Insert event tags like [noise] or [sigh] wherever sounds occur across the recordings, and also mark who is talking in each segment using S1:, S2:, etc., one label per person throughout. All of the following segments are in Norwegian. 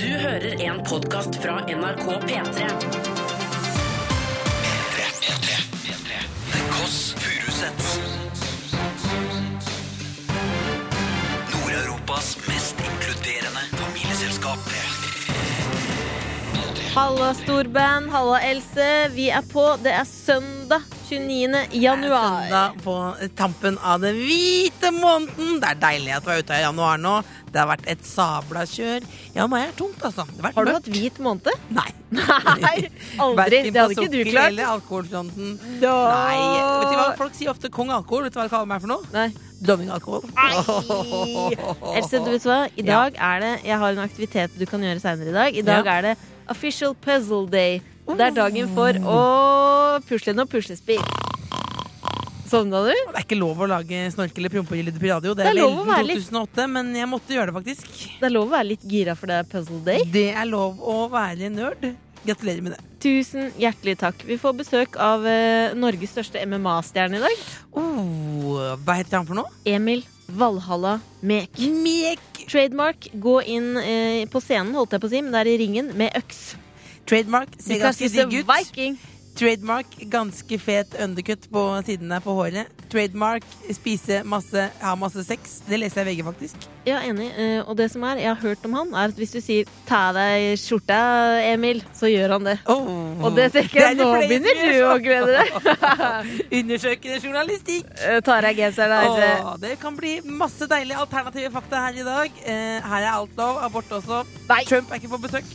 S1: Du hører en podkast fra NRK P3.
S2: The Koss Furusets Nord-Europas mest inkluderende familieselskap
S3: Halla, storband. Halla, Else. Vi er på. Det er søndag 29. januar.
S4: Søndag på tampen av den hvite måneden. Det er deilig at vi er ute i januar nå. Det har vært et sabla kjør. Ja, meg er tungt, altså. Det har, vært
S3: Har du
S4: mørkt.
S3: hatt hvit måned?
S4: [laughs] Nei.
S3: Nei, aldri.
S4: Hverken
S3: Det hadde
S4: på
S3: ikke du
S4: sukker
S3: klart.
S4: Eller alkoholfronten.
S3: Da.
S4: Nei. Vet du hva? Folk sier ofte kong alkohol. Vet du hva de kaller meg for noe?
S3: Nei.
S4: Dronning alkohol.
S3: Else, du vet hva? I dag er det Jeg har en aktivitet du kan gjøre seinere i dag. I dag er det official puzzle day. Det er dagen for å pusle noe puslespill. Sovna du?
S4: Det er ikke lov å lage snorke- eller prompelyder på radio. Det
S3: Det
S4: er,
S3: er lov å
S4: vel
S3: være litt-
S4: 2008, men jeg måtte gjøre det, faktisk.
S3: Det er lov å være litt gira for det er puzzle day.
S4: Det er lov å være nerd. Gratulerer med det.
S3: Tusen hjertelig takk. Vi får besøk av eh, Norges største MMA-stjerne i dag.
S4: Oh, hva heter han for noe?
S3: Emil Valhalla Mek.
S4: Mek
S3: Trademark, gå inn eh, på scenen, holdt jeg på å si, men det er i ringen, med øks.
S4: Trademark,
S3: Du
S4: ser
S3: kan
S4: ganske
S3: spise
S4: digg ut.
S3: Viking.
S4: Trademark, ganske fet underkutt på siden der på håret. Trademark, spise masse, ha masse sex. Det leser jeg i VG, faktisk.
S3: Ja, enig. Eh, og det som er, jeg har hørt om han, er at hvis du sier 'ta av deg skjorta, Emil', så gjør han det. Og det tenker jeg,
S4: Det er liksom.
S3: nå
S4: det flere
S3: begynner
S4: som
S3: du å
S4: gjør,
S3: glede
S4: [laughs]
S3: deg.
S4: Undersøkende journalistikk!
S3: Eh, Tar av genseren, Else.
S4: Åh, det kan bli masse deilige alternative fakta her i dag. Eh, her er alt lov. Abort også.
S3: Nei,
S4: Trump er ikke på besøk.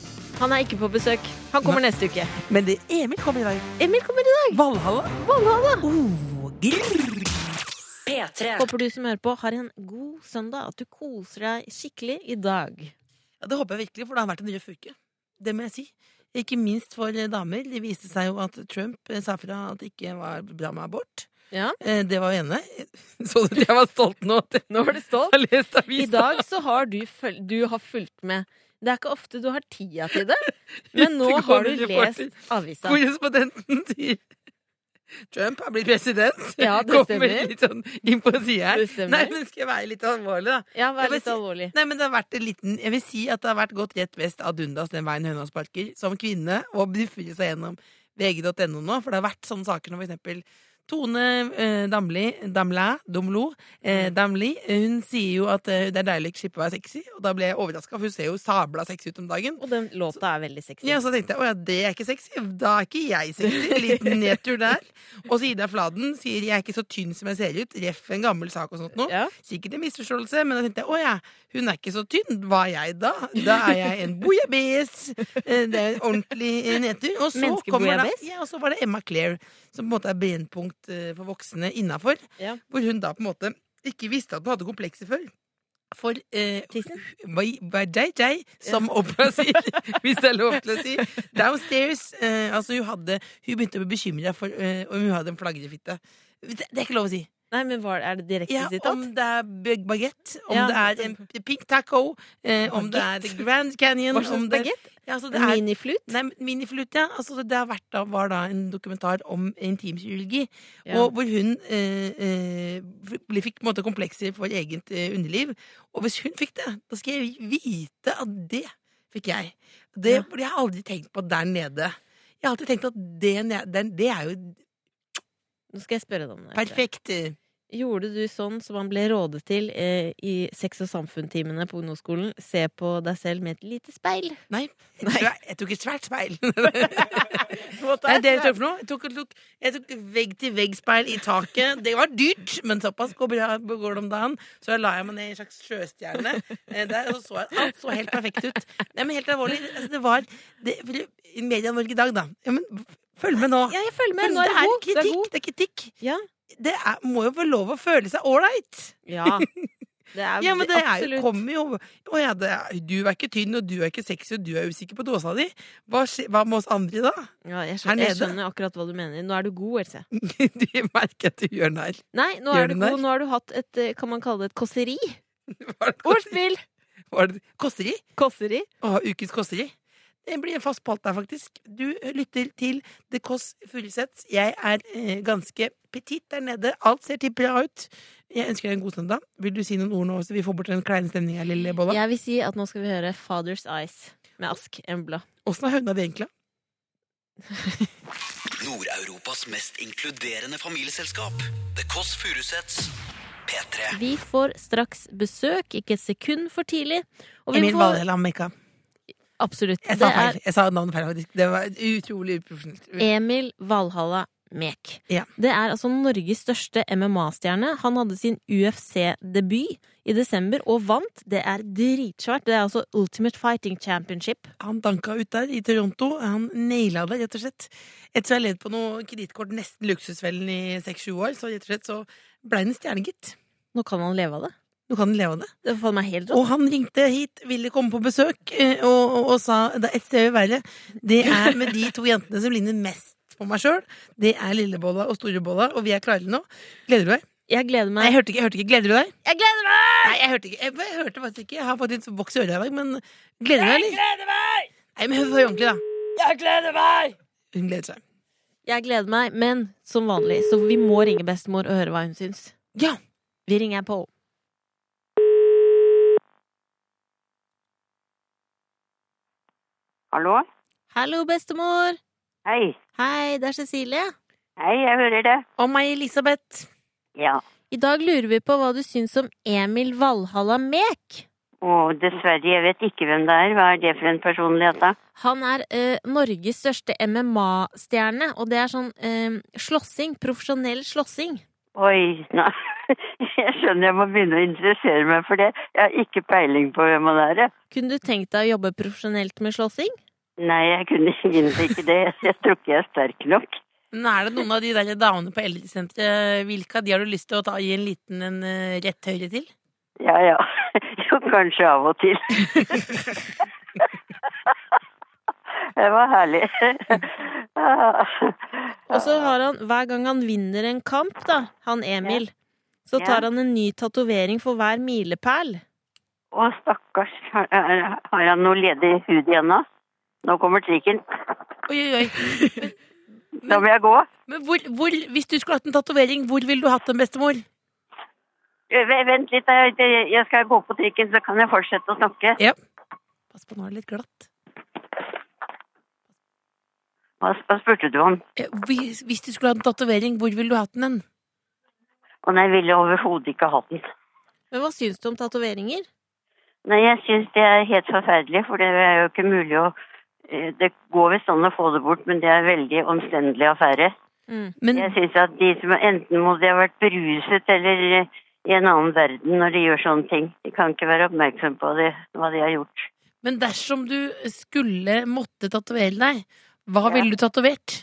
S3: han er ikke på besøk. Han kommer neste uke.
S4: Men det Emil kommer i dag.
S3: Emil kommer i dag.
S4: Valhalla.
S3: Valhalla.
S4: Oh, grrr.
S1: P3.
S3: Håper du som hører på, har en god søndag, at du koser deg skikkelig i dag.
S4: Ja, det håper jeg virkelig, for det har vært en røff uke. Det må jeg si. Ikke minst for eh, damer. Det viste seg jo at Trump eh, sa fra at det ikke var bra med abort.
S3: Ja.
S4: Eh, Det var jo ene. [laughs] Så du at jeg var stolt nå? at jeg
S3: Nå var det stolt.
S4: har lest
S3: I
S4: avisa?
S3: dag så har du, føl du har fulgt med. Det er ikke ofte du har tida til det, men nå har du
S4: Utegående
S3: lest
S4: reporter.
S3: avisa.
S4: Korrespondenten sier Trump har blitt president.
S3: Ja, det
S4: Kommer
S3: stemmer.
S4: litt sånn inn på sida
S3: Det
S4: her.
S3: stemmer.
S4: Nei, men skal jeg være litt alvorlig, da?
S3: Ja, vær
S4: Jeg vil
S3: litt
S4: si-
S3: alvorlig.
S4: Nei, men det har vært en liten Jeg vil si at det har vært gått rett vest av Dundas den veien høna sparker, som kvinne, og bruffer seg gjennom vg.no nå, for det har vært sånne saker som for eksempel Tone eh, Damli, Damla, Domlo, eh, Damli, hun sier jo at eh, det er deilig ikke slippe å være sexy, og da ble jeg overraska, for hun ser jo sabla sexy ut om dagen.
S3: Og den låta er veldig sexy.
S4: Ja, så tenkte jeg, å ja, det er ikke sexy, da er ikke jeg sexy, liten nedtur der. Og så Ida Fladen sier jeg er ikke så tynn som jeg ser ut, ref en gammel sak og sånt nå.
S3: Ja.
S4: Sikkert en misforståelse, men da tenkte jeg å ja, hun er ikke så tynn. Hva er jeg da? Da er jeg en bouillabaisse. Eh, Det er en ordentlig eh, nedtur. Og så, kommer da,
S3: Menneskebouillabaisse?
S4: ja, og så var det Emma Claire, som på en måte er brennpunkt eh, for voksne innafor,
S3: Ja.
S4: hvor hun da på en måte ikke visste at hun hadde komplekser før. For eh,
S3: Tissen?
S4: Vai- vai- jai, jai, som Opera sier, [laughs] hvis det er lov til å si. Downstairs. Eh, altså hun, hadde, hun begynte å bli bekymra for eh, om hun hadde en flagrefitte. Det, det er ikke lov å si.
S3: Nei, men hva, er det direkte
S4: Ja,
S3: sitat?
S4: om det er bøg- baguette, om
S3: Ja.
S4: det er en p- pink taco, eh, om det er The Grand Canyon
S3: Hva slags
S4: om det-
S3: bagett?
S4: Ja, altså, det er-
S3: Miniflut?
S4: Nei, miniflute, ja. Altså, det har vært da, var da en dokumentar om intimkirurgi.
S3: Ja.
S4: Og hvor hun eh, eh, ble- fikk på en måte komplekser for eget eh, underliv. Og hvis hun fikk det, da skal jeg vite at det fikk jeg. Det
S3: Ja.
S4: for jeg har jeg aldri tenkt på der nede. Jeg har alltid tenkt at det, ne- den- det er jo
S3: Nå skal jeg spørre deg om det. Else.
S4: perfekt. eh,
S3: Gjorde du sånn som man ble rådet til eh, i sex og samfunn-timene på ungdomsskolen? Se på deg selv med et lite speil.
S4: Nei, et svæ- jeg tok et svært
S3: [laughs]
S4: speil. [laughs] Nei, det jeg tok for noe? Jeg tok, tok, jeg tok vegg-til-vegg-speil i taket. Det var dyrt, men såpass går, bra, går det om dagen. Så la jeg meg ned i en slags sjøstjerne. eh, Der, og så så jeg at alt så helt perfekt ut. Nei, men helt alvorlig. Altså, det var det, for, I Media-Norge i dag, da. Ja, men følg med nå.
S3: Ja, jeg følger med.
S4: Men
S3: Nå er
S4: det
S3: det
S4: er
S3: god. Du er
S4: kritikk.
S3: god.
S4: Det er kritikk.
S3: Ja.
S4: Det er, må jo få lov å føle seg ålreit. [laughs]
S3: Ja. Det er
S4: Ja, men det er jo,
S3: absolutt
S4: kommer jo Å ja, det er, du er ikke tynn, og du er ikke sexy, og du er usikker på dåsa di. Hva, skje- hva med oss andre, da? [laughs]
S3: Ja, jeg,
S4: Her
S3: skjønner, jeg
S4: nede.
S3: skjønner akkurat hva du mener. Nå er du god, Else.
S4: du merker at du gjør narr.
S3: Nei, nå
S4: Gjør
S3: er du
S4: den
S3: god.
S4: der?
S3: Nå har du hatt et eh, Kan man kalle det et kåseri?
S4: Var det kos-
S3: Ordspill!
S4: var det Kåseri?
S3: [laughs] Kåseri.
S4: Å, ukens kåseri. Det blir en fast palt der, faktisk. Du eh, lytter til The Kåss Furuseths. Jeg er eh, ganske petit der nede. Alt ser tipp bra ut. Jeg ønsker deg en god søndag. Vil du si noen ord nå, så vi får bort den kleine stemninga, lille Bolla?
S3: Jeg vil si at nå skal vi høre Father's Eyes med Ask Embla.
S4: Åssen har høna det egentlig?
S2: Nord-Europas mest inkluderende familieselskap. The Kåss Furuseths. P3.
S3: Vi får straks besøk, ikke et sekund for tidlig. Og vi
S4: Emil
S3: får
S4: Valhjell Ameka.
S3: Absolutt.
S4: Jeg
S3: det
S4: sa
S3: er
S4: feil. Jeg sa navnet feil, faktisk. Det var utrolig uprofesjonelt.
S3: Emil Valhalla Mek.
S4: Mm. Ja.
S3: Det er altså Norges største MMA-stjerne. Han hadde sin UFC-debut i desember og vant. Det er dritsvært. Det er altså Ultimate Fighting Championship.
S4: Han danka ut der i Toronto. Han naila det, rett og slett. Etter å ha levd på noe kredittkort, nesten luksusfellen, i seks-sju år, så rett og slett så blei han en stjerne, gitt.
S3: Nå kan han leve av det.
S4: Nå kan han leve av det.
S3: Det får meg helt rått.
S4: Og han ringte hit, ville komme på besøk, eh, og, og, og sa det er et sted i verre. Det er med de to jentene som ligner mest på meg sjøl. Det er Lillebolla og Storebolla, og vi er klare nå. Gleder du deg?
S3: Jeg gleder
S4: Nei,
S3: meg.
S4: jeg hørte ikke. Jeg hørte ikke. Gleder du deg?
S3: Jeg gleder meg!
S4: Nei, jeg hørte ikke. Jeg, jeg hørte faktisk ikke. Jeg har fått litt voks i øret i dag, men gleder du deg, eller?
S1: gleder meg!
S4: Nei, men hør hør ordentlig, da.
S1: Jeg gleder meg!
S4: Hun gleder seg.
S3: Jeg gleder meg, men som vanlig, så vi må ringe bestemor og høre hva hun syns.
S4: Ja.
S3: Vi ringer på.
S5: Hallo?
S3: Hallo, bestemor!
S5: Hei.
S3: Hei, det er Cecilie.
S5: Hei, jeg hører det.
S4: Og meg, Elisabeth.
S5: Ja.
S3: I dag lurer vi på hva du syns om Emil Valhalla Mek.
S5: Og dessverre, jeg vet ikke hvem det er. Hva er det for en personlighet, da?
S3: Han er eh, Norges største MMA-stjerne, og det er sånn eh, slåssing. Profesjonell slåssing.
S5: Oi, nå [laughs] Jeg skjønner jeg må begynne å interessere meg for det. Jeg har ikke peiling på hvem han er. jeg.
S3: Kunne du tenkt deg å jobbe profesjonelt med slåssing?
S5: Nei, jeg kunne egentlig ikke det. [laughs] Jeg tror ikke jeg er sterk nok.
S4: Nå er det noen av de der damene på eldresenteret. Hvilke av de har du lyst til å ta i en liten en, eh, rett høyre til?
S5: Ja ja. [laughs] Jo, kanskje av og til. [laughs] Det var herlig. [laughs]
S3: Og så har han, hver gang han vinner en kamp, da, han Emil, så
S5: Ja.
S3: tar han en ny tatovering for hver milepæl.
S5: Å, stakkars. Har, er- har han noe ledig hud igjen nå? Nå kommer trikken.
S4: Oi, oi, oi. [laughs]
S5: Da må jeg gå.
S4: Men hvor, hvor, hvis du skulle hatt en tatovering, hvor ville du hatt den, bestemor?
S5: Eh, ve- Vent litt, jeg- jeg jeg skal gå på trikken, så kan jeg fortsette å snakke.
S4: Ja. Pass på, nå er det litt glatt.
S5: Hva, hva spurte du om?
S4: Eh, Hvis, hvis du skulle hatt en tatovering, hvor ville du hatt den? hen?
S5: Å nei, jeg ville overhodet ikke ha den.
S3: Men hva syns du om tatoveringer?
S5: Nei, jeg syns det er helt forferdelig, for det er jo ikke mulig å eh, Det går visst an å få det bort, men det er en veldig omstendelig affære.
S4: Men,
S5: Jeg syns at de som enten må de ha vært beruset eller eh, i en annen verden når de gjør sånne ting. De kan ikke være oppmerksom på det, hva de har gjort.
S4: men dersom du skulle måtte tatovere deg, hva
S5: Ja.
S4: ville du tatovert?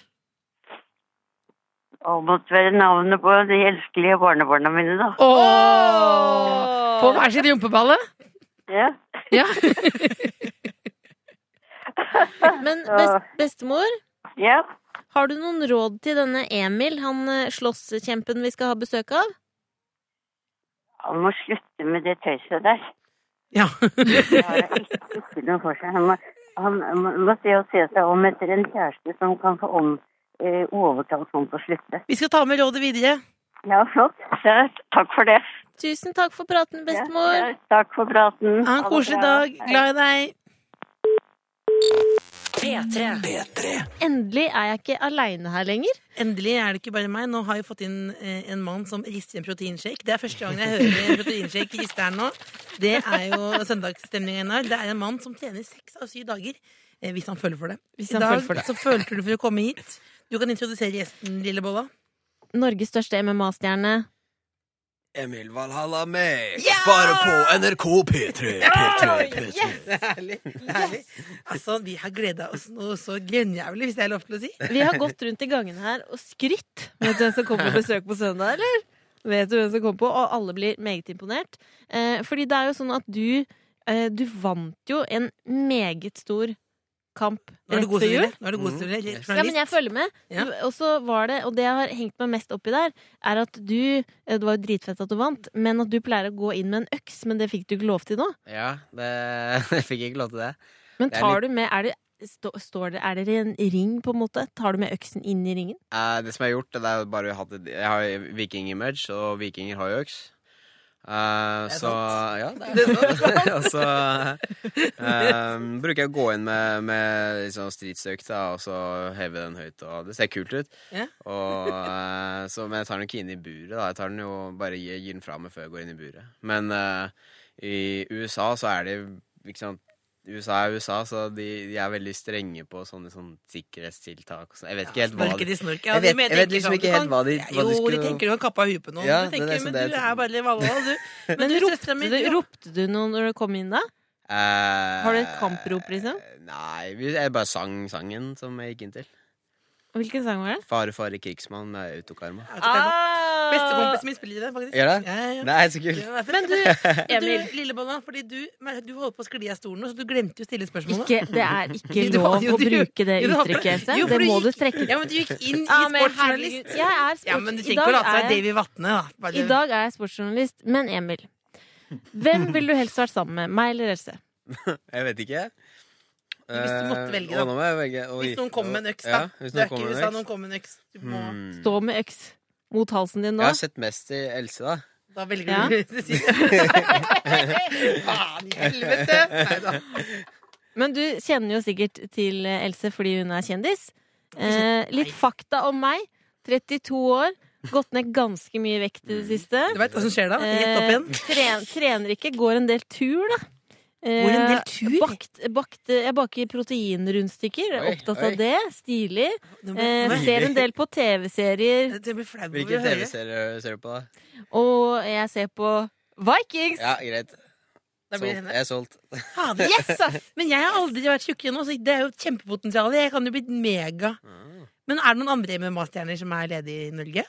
S5: Og måtte være navnet på de elskelige barnebarna mine, da.
S4: Åh! På hver sin rumpeballe?
S5: Ja.
S4: Ja.
S3: Men best, bestemor,
S5: ja.
S3: har du noen råd til denne Emil, han eh, slåsskjempen vi skal ha besøk av?
S5: Han må slutte med det tøyset der.
S4: [laughs] ja.
S5: Det har jeg ikke ikke noe for seg. Han må, han må, må se og se seg om etter en kjæreste som kan få om, eh, overtalt ham til å slutte.
S4: Vi skal ta med rådet videre.
S5: Ja, flott. Ja, Takk for det.
S3: Tusen takk for praten,
S5: Ja,
S3: bestemor.
S5: ja, takk for praten.
S4: Ha en koselig dag. Glad i deg.
S1: P3.
S2: P3.
S3: Endelig er jeg ikke aleine her lenger.
S4: Endelig er det ikke bare meg. Nå har jeg fått inn eh, en mann som rister en proteinshake. Det er første gangen jeg hører en proteinshake riste her nå. Det er jo søndagsstemninga i dag. Det er en mann som trener seks av syv dager. eh, Hvis han føler for det.
S3: Hvis
S4: I
S3: han
S4: dag
S3: føler for det.
S4: så følte du for å komme hit. Du kan introdusere gjesten, lille bolla.
S3: Norges største MMA-stjerne.
S2: Emil Valhalla med. Bare på NRK P3. P3, P3.
S4: Herlig. herlig. Altså, vi har gleda oss noe så grenjævlig, hvis det er lov til å si.
S3: Vi har gått rundt i gangene her og skrytt. Vet du hvem som kom på besøk på søndag, eller? Vet du hvem som kom på? Og alle blir meget imponert. Eh, fordi det er jo sånn at du eh, Du vant jo en meget stor kamp
S4: Nå er
S3: rett
S4: det god
S3: før jul.
S4: stemning. Nå er det god stemning.
S3: Ja, men jeg
S4: Journalist.
S3: følger med.
S4: Ja.
S3: Og så var det, og det jeg har hengt meg mest oppi der, er at du eh, Det var jo dritfett at du vant, men at du pleier å gå inn med en øks, men det fikk du ikke lov til nå.
S6: Ja, det, [laughs] jeg fikk ikke lov til det.
S3: Men
S6: Det er
S3: tar du med Er det, stå, står det, er det en ring, på en måte? Tar du med øksen inn i ringen?
S6: Eh, det som jeg har gjort, det er jo bare at jeg har viking-image, og vikinger har jo øks. Eh, så ja, det
S4: Det
S6: er
S4: er
S6: sant. [laughs] og så eh, bruker jeg å gå inn med, med liksom stridsøkt da, og så heve den høyt. Og det ser kult ut.
S4: Ja.
S6: Og, eh, så, men jeg tar den ikke inn i buret. da Jeg tar den jo bare gir, gir den fra meg før jeg går inn i buret. Men eh, i USA så er det ikke sant USA er USA, så de, de er veldig strenge på sånne, sånn sikkerhetstiltak. og sånn. Jeg vet ikke helt hva
S4: Snorker
S6: de
S4: i snork.
S6: Jeg vet- jeg vet liksom ikke helt hva de- hva de
S4: Jo, de
S6: skulle-
S4: tenker du har kappa huet på noen.
S6: Ja,
S4: du
S6: det er
S4: tenker,
S6: liksom
S4: men
S6: det jeg
S4: du er bare Valhall,
S6: [laughs]
S4: du. Men,
S3: Men
S4: du,
S3: ropte
S4: søstera mi
S3: du, ropte du noe når du kom inn da?
S6: Har
S3: du et kamprop, liksom?
S6: Eh, Nei, vi- jeg bare sang sangen som jeg gikk inn til.
S3: Og Hvilken sang var det?
S6: Fare, fare, krigsmann med autokarma.
S4: Ah! Bestekompisen min spiller i det, faktisk.
S6: Ah! Gjør det?
S4: Ja, ja, ja.
S6: Nei, så kult.
S4: [laughs] Ja,
S3: Men du,
S4: Men du,
S3: Emil
S4: Lillebolla, fordi du, men du holdt på å skli av stolen nå, så du glemte jo å stille spørsmålet.
S3: ikke, Det er ikke
S4: [laughs] Jo, du-
S3: lov
S4: jo,
S3: å
S4: du-
S3: bruke det
S4: jo, du har-
S3: uttrykket. Else.
S4: Jo, for
S3: Det må du
S4: gikk-
S3: trekke
S4: Ja, men du gikk inn i
S3: Ja, men
S4: sportsjournalist.
S3: herregud, Jeg er sports...
S4: Ja, men du
S3: I,
S4: trenger ikke å
S3: dag
S4: late som det
S3: er
S4: er
S3: jeg,
S4: Davy Vatne, da. Bare-
S3: I dag er jeg sportsjournalist, men Emil. Hvem ville du helst vært sammen med? Meg eller Else?
S6: Jeg vet ikke. Eh,
S4: Hvis du måtte velge, da.
S6: Å, nå må jeg velge. Oi.
S4: Hvis noen kommer med en øks, da.
S6: Ja, hvis
S4: du
S6: noen
S4: er ikke
S6: kommer
S4: i
S6: med
S4: USA,
S6: en
S4: noen
S6: øks.
S4: kommer med en øks. Du må,
S6: Hmm.
S3: Stå med øks mot halsen din
S6: Jeg
S3: nå.
S6: har sett mest til Else, da.
S4: Da velger
S3: Ja.
S4: du [laughs] Faen i helvete! Neida.
S3: Men du kjenner jo sikkert til eh, Else fordi hun er kjendis. Eh, litt fakta om meg. 32 år. Gått ned ganske mye vekt i det
S4: Mm.
S3: siste.
S4: Du veit hva som skjer da? Gjett opp
S3: Eh,
S4: igjen.
S3: tren, trener ikke. Går en del tur, da. Eh,
S4: Går en del tur?
S3: Bakt, bakt, jeg baker proteinrundstykker. er
S6: Oi,
S3: Opptatt
S6: oi.
S3: av det. Stilig.
S4: Nå
S3: Eh,
S4: ble-
S3: ser en del på TV-serier.
S4: Jeg blir flau over
S6: Hvilke
S4: å høre.
S6: TV-serier ser du på, da?
S3: Og jeg ser på Vikings!
S6: Ja, greit.
S4: Da blir det
S6: Solgt.
S4: henne.
S6: Jeg er solgt.
S4: Fader, yes, ass! Men jeg har aldri vært tjukk ennå, så det er jo et kjempepotensial. Jeg kan jo bli mega.
S6: Ah.
S4: Men er det noen andre MMA-stjerner som er ledige i Norge?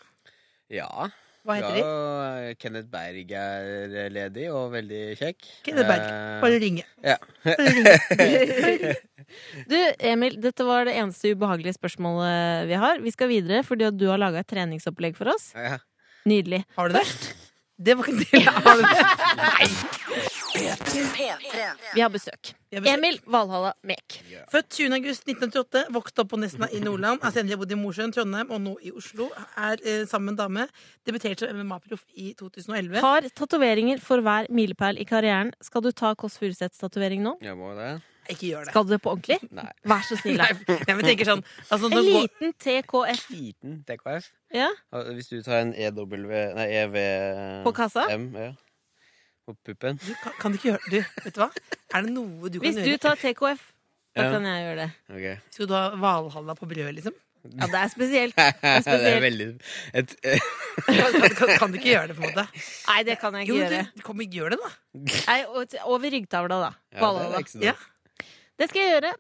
S6: Ja.
S4: Hva heter de?
S6: ja, Kenneth Berg er ledig og veldig kjekk.
S4: Kenneth Berg.
S6: Eh,
S4: Bare ringe.
S6: ja. [laughs]
S3: Du, Emil, dette var det eneste ubehagelige spørsmålet vi har. Vi skal videre, fordi at du har laga et treningsopplegg for oss.
S6: ja.
S3: Nydelig.
S4: Har du det? Det var ikke en del av [laughs] det.
S3: Vi har besøk.
S4: Jeg besøk.
S3: Emil Valhalla Mek.
S4: Født 20. august 1988, vokste opp på Nesna i Nordland. Altså, Har senere bodd i Mosjøen, Trondheim og nå i Oslo. Er eh, sammen med en dame. Debuterte som MMA-proff i 2011.
S3: Har tatoveringer for hver milepæl i karrieren. Skal du ta Kåss Furuseths tatovering nå?
S6: Jeg må det.
S4: Ikke gjør det.
S3: Skal du det på ordentlig?
S6: Nei.
S3: Vær så snill.
S4: Nei,
S3: da.
S4: nei, men tenker sånn altså,
S3: En
S4: nå går,
S3: liten TKF
S6: Liten TKF.
S3: ja,
S6: Ja, Hvis du tar en EW Nei, EV
S3: på kassa.
S6: M, ja. På puppen.
S4: du, kan, kan du ikke gjøre det? Du, vet du hva? Er det noe du kan
S3: Hvis du
S4: gjøre?
S3: tar TKF, da
S6: Ja.
S3: kan jeg gjøre det.
S6: Ok. [laughs]
S4: Skal du ha Valhalla på brødet, liksom?
S3: Ja, det er spesielt.
S6: det
S3: spesielt.
S6: er veldig et, eh,
S4: Kan, kan, kan, kan du ikke gjøre det, på en måte?
S3: Nei, det kan jeg
S4: Jo,
S3: ikke
S4: men
S3: gjøre.
S4: du, kom, gjør det, da.
S3: Nei, og- over ryggtavla, da. På
S6: Ja, det
S3: Valhalla.
S6: er ikke så dumt.
S4: Ja.
S3: Det skal jeg gjøre.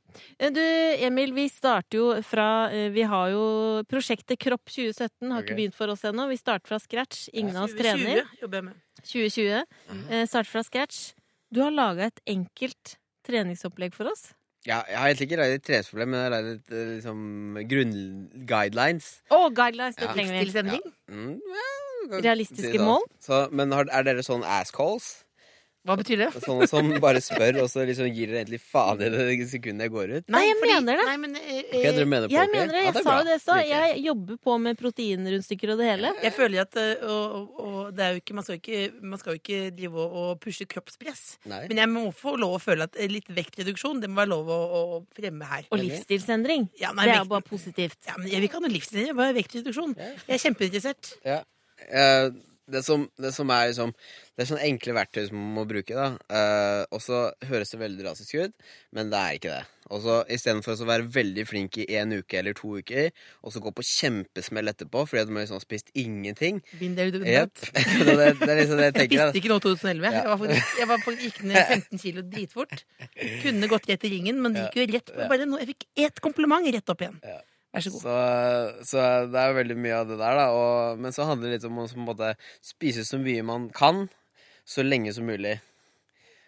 S3: Eh, Du, Emil, vi starter jo fra eh, Vi har jo prosjektet Kropp 2017. Har
S6: Ok.
S3: ikke begynt for oss ennå. Vi starter fra scratch. Ingen av oss
S4: 2020
S3: trener.
S4: jobber jeg med.
S3: 2020.
S6: Mhm.
S3: Eh, starter fra scratch. Du har laga et enkelt treningsopplegg for oss.
S6: Ja, jeg har egentlig ikke lagd et treningsproblem, men jeg har lagd et eh, liksom, grunnguidelines.
S3: Å, guidelines! Det
S6: Ja.
S3: trenger vi.
S4: Livsstilsendring?
S6: Mm, ja, kan
S3: Realistiske
S6: si det.
S3: mål?
S6: Så, men har, er dere sånn asscalls?
S4: Hva betyr det?
S6: Sånne som bare spør, og så liksom gir dere egentlig faen i det det sekundet jeg går ut?
S3: Nei, jeg mener det.
S4: Nei, men, eh,
S6: Ok,
S4: eh,
S6: dere mener på
S3: Jeg
S6: ok?
S3: mener det.
S6: Ja,
S3: Jeg
S6: er
S3: sa
S6: bra.
S3: jo det i stad.
S6: Liker det.
S3: Jeg jobber på med proteinrundstykker og det hele.
S4: Jeg føler at eh, og, og, og det er jo ikke, man, skal jo ikke, man skal jo ikke drive og, og pushe kroppspress.
S6: Nei.
S4: Men jeg må få lov å føle at eh, litt vektreduksjon det må være lov å, å fremme her.
S3: Og livsstilsendring.
S4: Ja, nei,
S3: Det er
S4: vekten-
S3: jo bare positivt.
S4: ja, men jeg vil ikke ha noe livsstil, jeg vil bare ha vektreduksjon. Jeg er kjempeinteressert.
S6: Ja. Eh, det, som, det som er liksom Det er sånne enkle verktøy som man må bruke, da. Eh, og så høres det veldig drastisk ut, men det er ikke det. Og så Istedenfor å være veldig flink i én uke eller to uker, og så gå på kjempesmell etterpå fordi at man liksom har spist ingenting
S4: Been there, done
S6: Jep. [laughs]
S4: that.
S6: det, det, det
S3: [laughs]
S6: er liksom det
S4: Jeg
S6: jeg tenker.
S4: spiste
S6: Da.
S4: ikke noe i 2011. Jeg, var faktisk, jeg var faktisk, gikk ned 15 kilo dritfort. Kunne gått rett i ringen, men det gikk jo rett på. Bare nå, jeg fikk ett kompliment rett opp igjen. Vær så god.
S6: Så, så det er jo veldig mye av det der, da. Og, men så handler det litt om å på en måte spise så mye man kan, så lenge som mulig.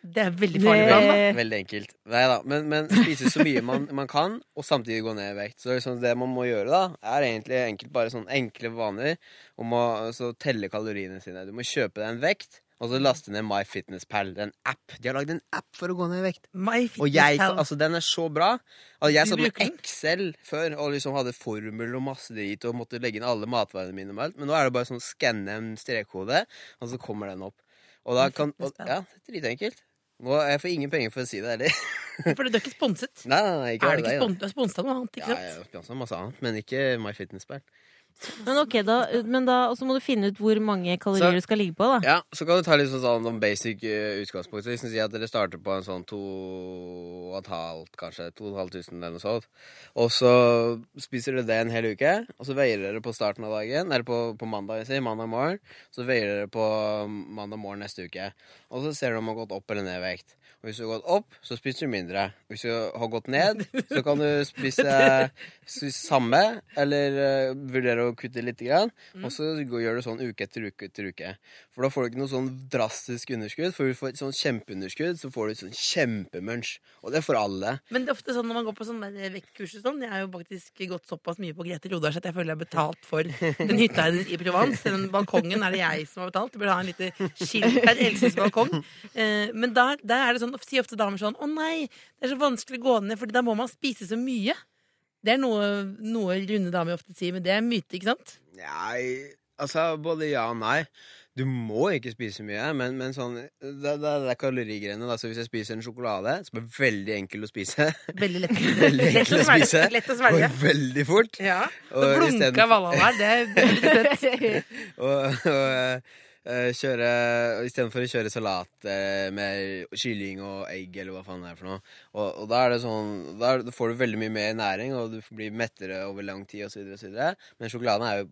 S4: Det er veldig farlig plan, da.
S6: Veldig enkelt. Nei da, men, men spise så mye man, man kan, og samtidig gå ned i vekt. Så liksom det man må gjøre, da, er egentlig enkelt, bare sånne enkle vaner om å så telle kaloriene sine. Du må kjøpe deg en vekt, og så laste ned MyFitnessPal. Det er en app. De har lagd en app for å gå ned i vekt.
S4: My
S6: Og jeg,
S4: fitness pal.
S6: altså Den er så bra. Altså,
S4: Du
S6: jeg satt med
S4: bruker den?
S6: Excel før og liksom hadde formel og masse drit og måtte legge inn alle matvarene mine. og alt, Men nå er det bare sånn skanne en strekkode, og så kommer den opp. Og da kan og,
S4: 15 spenn.
S6: Ja, dritenkelt. Nå, jeg får ingen penger for å si det heller. [laughs]
S4: For du er ikke sponset.
S6: altså- Nei, nei, nei, ikke
S4: er du ikke
S6: deg, da.
S4: spon- du er sponset av noe annet, ikke
S6: Ja,
S4: sant?
S6: jeg har også masse annet, men ikke MyFitnessPal.
S3: Men ok, da, men da og så må du finne ut hvor mange kalorier
S6: Så-
S3: du skal ligge på, da.
S6: Ja, så kan du ta litt sånn, sånn noen basic eh, utgangspunkt. Så Hvis du sier at dere starter på en sånn to og et halvt, kanskje to og et halvt tusen eller noe sånt, og så spiser dere det en hel uke, og så veier dere på starten av dagen, eller på, på mandag, jeg sier, mandag morgen, så veier dere på mandag morgen neste uke, og så ser du om du har gått opp eller ned i vekt. Og hvis du har gått opp, så spiser du mindre. Hvis du har gått ned, så kan du spise spise samme, eller eh, vurdere å kutte litt, grann, og så går- gjør du sånn uke etter uke etter uke. For da får du ikke noe sånn drastisk underskudd. For får du et sånn kjempeunderskudd, så får du et sånn kjempemønsj. Og det får alle.
S4: Men det er ofte sånn når man går på sånne der vekkkurs og sånn Jeg har jo faktisk gått såpass mye på Grete Rodars at jeg føler jeg har betalt for den hytta hennes i Provence. Den balkongen er det jeg som har betalt. Du burde ha en lite skilt der. Elses balkong. Eh, Men da, da er det sånn, sier ofte damer sånn Å nei, det er så vanskelig å gå ned, for da må man spise så mye. Det er noe, noe runde damer ofte sier, men det er myte, ikke sant?
S6: Nei, altså både ja og nei. Du må ikke spise mye, men, men sånn Det, det, det er kalorigreiene. Da. Så hvis jeg spiser en sjokolade, som er veldig enkel å spise [laughs]
S4: Veldig lett,
S6: Veldig
S4: lett,
S6: enkel
S4: å
S6: å spise.
S4: svelge. Lett å
S6: Går
S4: svelge.
S6: veldig fort.
S4: Ja.
S6: Og
S4: Da blunka
S6: isteden-
S4: Valla der. Det er veldig søtt.
S6: Og, og eh, kjøre og Istedenfor å kjøre salat eh, med kylling og egg, eller hva faen det er for noe. Og, og da er det sånn Da er, det- får du veldig mye mer næring, og du blir mettere over lang tid, osv. Men sjokoladen er jo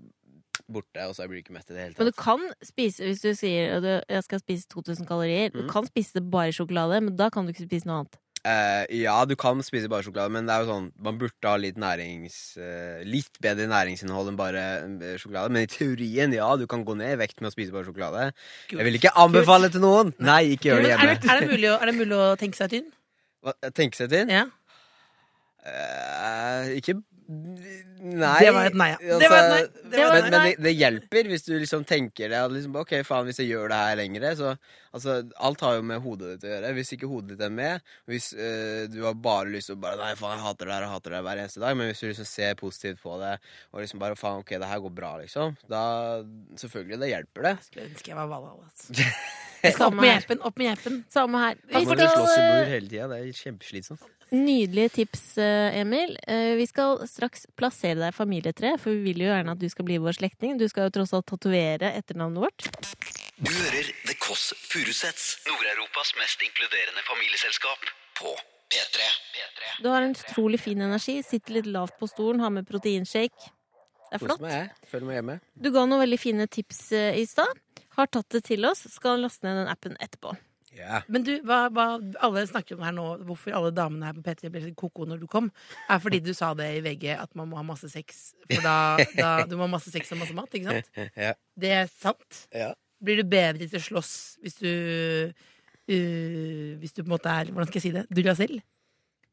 S6: borte, og så blir du ikke mett i det hele
S3: Men du
S6: tatt.
S3: kan spise hvis du sier at du- jeg skal spise 2000 kalorier. Du
S6: Mm.
S3: kan spise bare sjokolade, men da kan du ikke spise noe annet.
S6: Eh, ja, du kan spise bare sjokolade, men det er jo sånn man burde ha litt nærings eh, litt bedre næringsinnhold enn bare eh, sjokolade. Men i teorien, ja, du kan gå ned i vekt med å spise bare sjokolade. Jeg vil ikke anbefale til noen! Nei, ikke gjør
S4: Men
S6: det
S4: er,
S6: hjemme.
S4: det- er, det mulig å, er det mulig å tenke seg tynn?
S6: Hva, tenke seg til?
S4: Ja.
S6: Eh, ikke Nei. Altså,
S4: Det var et nei, ja. Det var et nei. Det
S3: var et
S6: men
S3: nei.
S6: men det, det hjelper hvis du liksom tenker det. at Liksom, ok, faen, hvis jeg gjør det her lengre, så altså, Alt har jo med hodet ditt å gjøre. Hvis ikke hodet ditt er med, hvis eh, du har bare lyst til å bare Nei, faen, jeg hater det her og hater det her hver eneste dag. Men hvis du liksom ser positivt på det, og liksom bare faen, ok, det her går bra, liksom, da Selvfølgelig, det hjelper det.
S4: Skulle ønske jeg var Valla. Altså. Opp
S3: Samme
S4: med
S3: her.
S4: gjepen, opp med gjepen.
S3: Samme her. Vi
S6: Må Altså, du slåss i
S3: skal, eh,
S6: mur hele tida? Det er kjempeslitsomt.
S3: nydelige tips, eh, Emil. Eh, Vi skal straks plassere deg i familietreet, for vi vil jo gjerne at du skal bli vår slektning. Du skal jo tross alt tatovere etternavnet vårt.
S7: Du hører The Kåss Furuseths, Nord-Europas mest inkluderende familieselskap, på P3.
S3: Du har en utrolig fin energi. Sitter litt lavt på stolen, har med proteinshake. Det er
S6: Kos
S3: flott.
S6: meg, jeg. Føler meg hjemme.
S3: Du ga noen veldig fine tips eh, i stad. Har tatt det til oss. Skal laste ned den appen etterpå.
S6: Ja.
S4: Men du, hva, hva alle snakker om her nå, hvorfor alle damene her på P3 ble så koko når du kom, er fordi du sa det i VG at man må ha masse sex. For da,
S6: [laughs]
S4: da Du må ha masse sex og masse mat, ikke sant?
S6: [laughs] Ja.
S4: Det er sant.
S6: Ja.
S4: Blir du bedre til å slåss hvis du uh, Hvis du på en måte er Hvordan skal jeg si det? Du deg selv?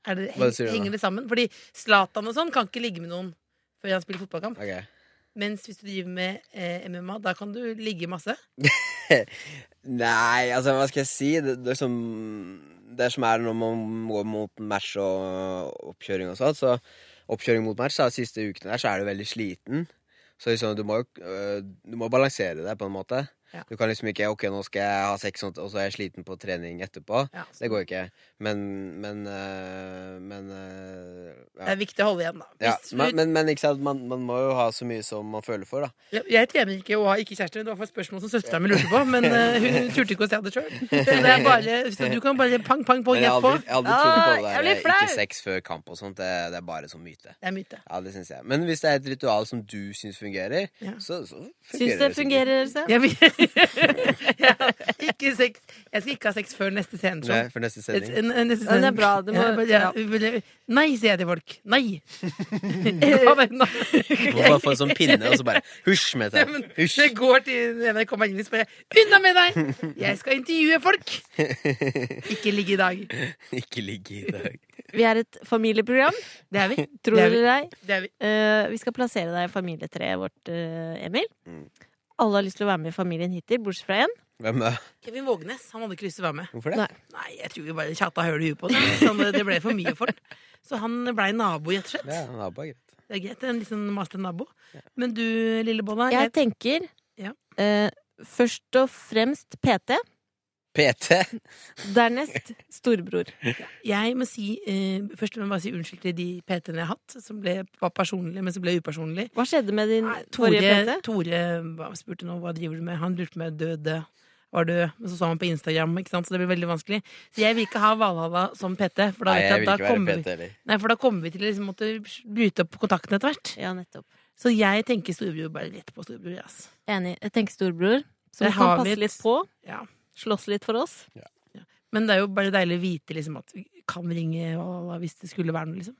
S4: Er det,
S6: Hva sier
S4: heng,
S6: du da?
S4: henger det sammen? Fordi Zlatan og sånn kan ikke ligge med noen før han spiller fotballkamp.
S6: Ok.
S4: Mens hvis du driver med eh, MMA, da kan du ligge masse.
S6: Nei, altså hva skal jeg si? Det, det, som, det som er når man går mot match og oppkjøring og sånn, så oppkjøring mot match, da, siste ukene der, så er du veldig sliten. Så liksom, du må jo øh, du må balansere det på en måte.
S4: Ja.
S6: Du kan liksom ikke Ok, nå skal jeg ha sex, og så er jeg sliten på trening etterpå.
S4: Ja,
S6: Det går ikke. Men Men, øh, men øh,
S4: Det
S6: ja.
S4: er viktig å holde igjen, da.
S6: Ja,
S4: Hvis
S6: men,
S4: du,
S6: men, men ikke sant, man, man må jo ha så mye som man føler for, da.
S4: jeg, jeg trener ikke og har ikke kjæreste. Det var for et spørsmål som søstera mi lurte på, men eh,
S6: [laughs]
S4: hun turte ikke å se det sjøl. Så, det er bare- så du kan bare pang, pang, pang,
S6: Men jeg har
S4: rett på.
S6: aldri, jeg har aldri trodd på
S3: Ah, jeg
S6: det
S3: blir
S6: der eh,
S3: flau.
S6: ikke sex før kamp og sånt. Det, det er bare sånn myte.
S4: Det er myte.
S6: Ja, det synes jeg. Men hvis det er et ritual som du syns fungerer,
S4: Ja.
S6: så, så
S3: Syns
S6: fungerer
S3: det
S6: sikkert.
S3: fungerer, Else?
S4: Jeg, vil- [laughs] jeg, har ikke sex. jeg skal ikke ha sex før neste
S6: Nei,
S4: sceneshow.
S6: for neste
S4: sånn. Et-
S6: sending.
S4: en- en neste
S3: Ja, det er
S4: sending.
S3: bra, det må-
S4: Ja, bare- ja, vil- Nei, sier jeg til folk.
S6: [laughs]
S4: Nei! [laughs] Ja, men, [laughs] nei.
S6: Må bare få en sånn pinne, og så
S4: [laughs]
S6: bare husj med
S4: Ja,
S6: det.
S4: men
S6: Husj.
S4: Det går til NRK Magnus bare 'Unna med deg! Jeg skal intervjue folk!' Ikke ligge i dag.
S6: [laughs] Ikke ligge i dag.
S3: Vi er et familieprogram,
S4: Det er vi.
S3: tror
S4: Det
S3: det
S4: er vi.
S3: eller ei.
S4: Det er vi.
S3: Eh, vi skal plassere deg i familietreet vårt, eh, Emil.
S6: Mm.
S3: Alle har lyst til å være med i familien hittil, bortsett fra én.
S6: Hvem da?
S4: Kevin Vågenes han hadde ikke lyst til å være med.
S6: Hvorfor det?
S3: Nei.
S4: Nei, jeg tror vi bare tjata høl i huet på det. Sånn, det ble for mye for han. Så han blei nabo, rett og
S6: Ja,
S4: slett.
S6: han er bare greit.
S4: Det er greit, en litt sånn master nabo. Men du, lille Bolla,
S3: Jeg
S4: jeg,
S3: tenker
S4: Ja.
S3: eh, først og fremst PT.
S6: PT.
S4: [laughs]
S3: Dernest storebror.
S4: Jeg må si, eh, først må jeg bare si unnskyld til de PT-ene jeg har hatt, som ble, var personlige, men som ble upersonlige.
S3: Hva skjedde med din
S4: Nei,
S3: forrige
S4: Eh, Tore,
S3: PT?
S4: Tore hva- spurte nå hva driver du med. Han lurte på om jeg døde. Var død. Men så så han på Instagram, ikke sant? så det ble veldig vanskelig. Så jeg vil ikke ha Valhalla som PT, for da,
S6: Nei,
S4: vet
S6: jeg
S4: jeg
S6: vil
S4: at da,
S6: ikke være
S4: kommer,
S6: PT
S4: vi-
S6: heller.
S4: nei, for da kommer vi til å liksom, måtte bryte opp kontakten etter hvert.
S3: Ja, nettopp.
S4: Så jeg tenker storebror bare rett på storebror. jeg, ass.
S3: Enig. Jeg tenker storebror, som
S4: Der
S3: kan
S4: har vi
S3: passe
S4: et-
S3: litt på.
S4: Ja.
S3: Slåss litt for oss.
S4: Men det er jo bare deilig å vite liksom, at vi kan ringe Valhalla hvis det skulle være noe. liksom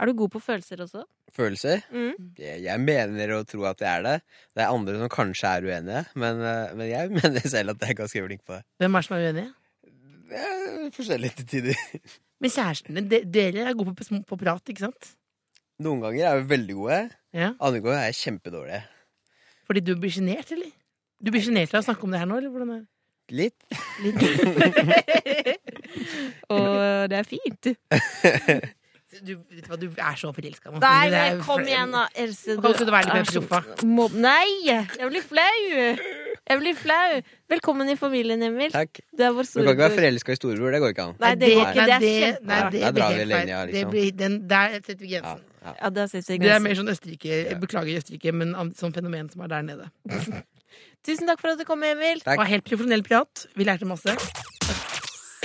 S3: Er du god på følelser også?
S6: Følelser?
S3: Mm.
S6: Jeg jeg mener å tro at jeg er det. Det er andre som kanskje er uenige, men, eh, men jeg [laughs] mener selv at jeg er ganske flink på det.
S4: Hvem er det som er uenige?
S6: Det er forskjellig til tider.
S4: Men kjærestene, de, dere er gode på, sm- på prat, ikke sant?
S6: Noen ganger er vi veldig gode,
S4: Ja.
S6: andre ganger er jeg kjempedårlig.
S4: Fordi du blir sjenert, eller? Du blir sjenert av å snakke om det her nå, eller hvordan er det?
S6: Litt.
S3: Og
S4: [laughs]
S3: det er fint.
S4: Du, vet du, hva, du er så forelska. nå,
S3: Nei,
S4: Frode, det er
S3: men
S4: jo
S3: kom
S4: fl-
S3: igjen, da, Else.
S4: Kan ikke du være litt mer
S3: er
S4: på
S3: så-
S4: sofa?
S3: Må- Nei! Jeg blir flau! Jeg blir flau. Velkommen i familien, Emil.
S6: Takk.
S3: Du er vår
S6: Du kan ikke være
S3: storebror.
S6: forelska i storebror, det går ikke an.
S3: Nei, det går ikke.
S4: Nei,
S3: Det er
S4: nei,
S3: kjempe...
S6: kjempe-
S4: det
S6: Ja, der
S4: blir
S6: drar vi
S4: helt
S6: linja,
S4: feil.
S6: liksom.
S4: Det blir, den, der setter vi
S6: Ja,
S4: grensen.
S6: ja.
S3: Ja, det er seks
S4: Det
S3: grenser.
S4: er mer sånn Østerrike, jeg beklager Østerrike, men an- sånn fenomen som er der nede.
S3: Tusen takk for at du kom, Emil.
S6: Takk.
S4: Det var helt profesjonell prat. Vi lærte masse.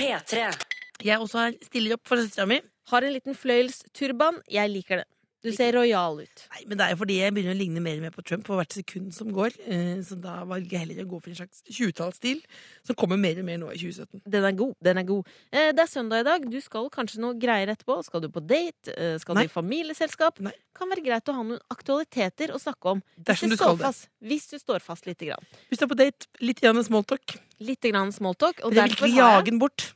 S1: P3.
S4: Jeg også har- stiller opp for søstera mi.
S3: Har en liten fløyelsturban. Jeg liker det. Du ser rojal ut.
S4: Nei, men det er jo fordi jeg begynner å ligne mer og mer på Trump for hvert sekund som går. eh, Så da valger jeg heller å gå for en slags 20-tallsstil, som kommer mer og mer nå i 2017.
S3: Den er god. den er god eh, Det er søndag i dag. Du skal kanskje noe greier etterpå. Skal du på date? Eh, skal
S4: Nei.
S3: du i familieselskap?
S4: Nei.
S3: Kan være greit å ha noen aktualiteter å snakke om. Hvis
S4: Dersom
S3: du,
S4: du
S3: står
S4: skal det.
S3: fast, hvis du står fast lite grann.
S4: Hvis du er på date, litt grann smalltalk.
S3: Litt grann smalltalk. Og
S4: Dere vil
S3: derfor
S4: ikke
S3: har,
S4: jage den bort.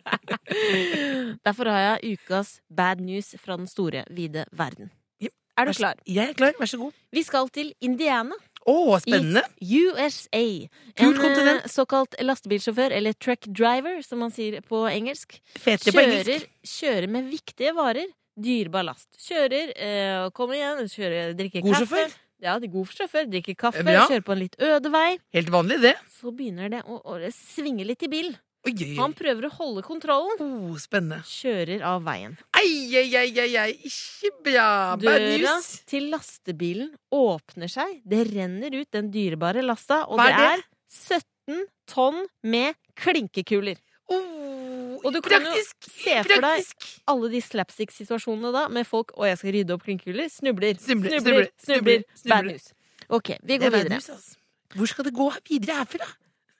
S3: jeg, derfor har jeg ukas bad news fra den store, vide verden.
S4: Jep.
S3: Er du klar?
S4: Jeg er klar. Vær så god.
S3: Vi skal til Indiana.
S4: Å, spennende.
S3: USA. En
S4: Kult kontinent.
S3: eh, såkalt lastebilsjåfør, eller truck driver, som man sier på engelsk,
S4: Fetere på engelsk.
S3: kjører, kjører med viktige varer, dyrebar last. Kjører, eh, og kommer igjen, kjører, eh, drikker
S4: God
S3: kaffe.
S4: sjåfør.
S3: Ja, det er god sjåfør. Drikker kaffe,
S4: Bra.
S3: kjører på en litt øde vei.
S4: Helt vanlig, det.
S3: Så begynner det å, å svinge litt i bil.
S4: Oi, oi, oi.
S3: Han prøver å holde kontrollen.
S4: Oh, spennende.
S3: Kjører av veien.
S4: Ei, ei, ei, ei, ei. Ikke bra. Bad
S3: Døra
S4: news.
S3: til lastebilen åpner seg. Det renner ut den dyrebare lasta, og
S4: Hva
S3: det
S4: er
S3: er 17 tonn med klinkekuler.
S4: Oh,
S3: Og du kan jo
S4: praktisk.
S3: se for deg-
S4: praktisk.
S3: alle de slapstick-situasjonene da, med folk 'og jeg skal rydde opp klinkehuller', snubler,
S4: Snubler,
S3: snubler,
S4: snubler, snubler,
S3: Bad
S4: snubler.
S3: news. Ok, vi
S4: Det
S3: går
S4: er bad
S3: videre.
S4: news, [laughs] altså. Hvor skal det gå videre herfra?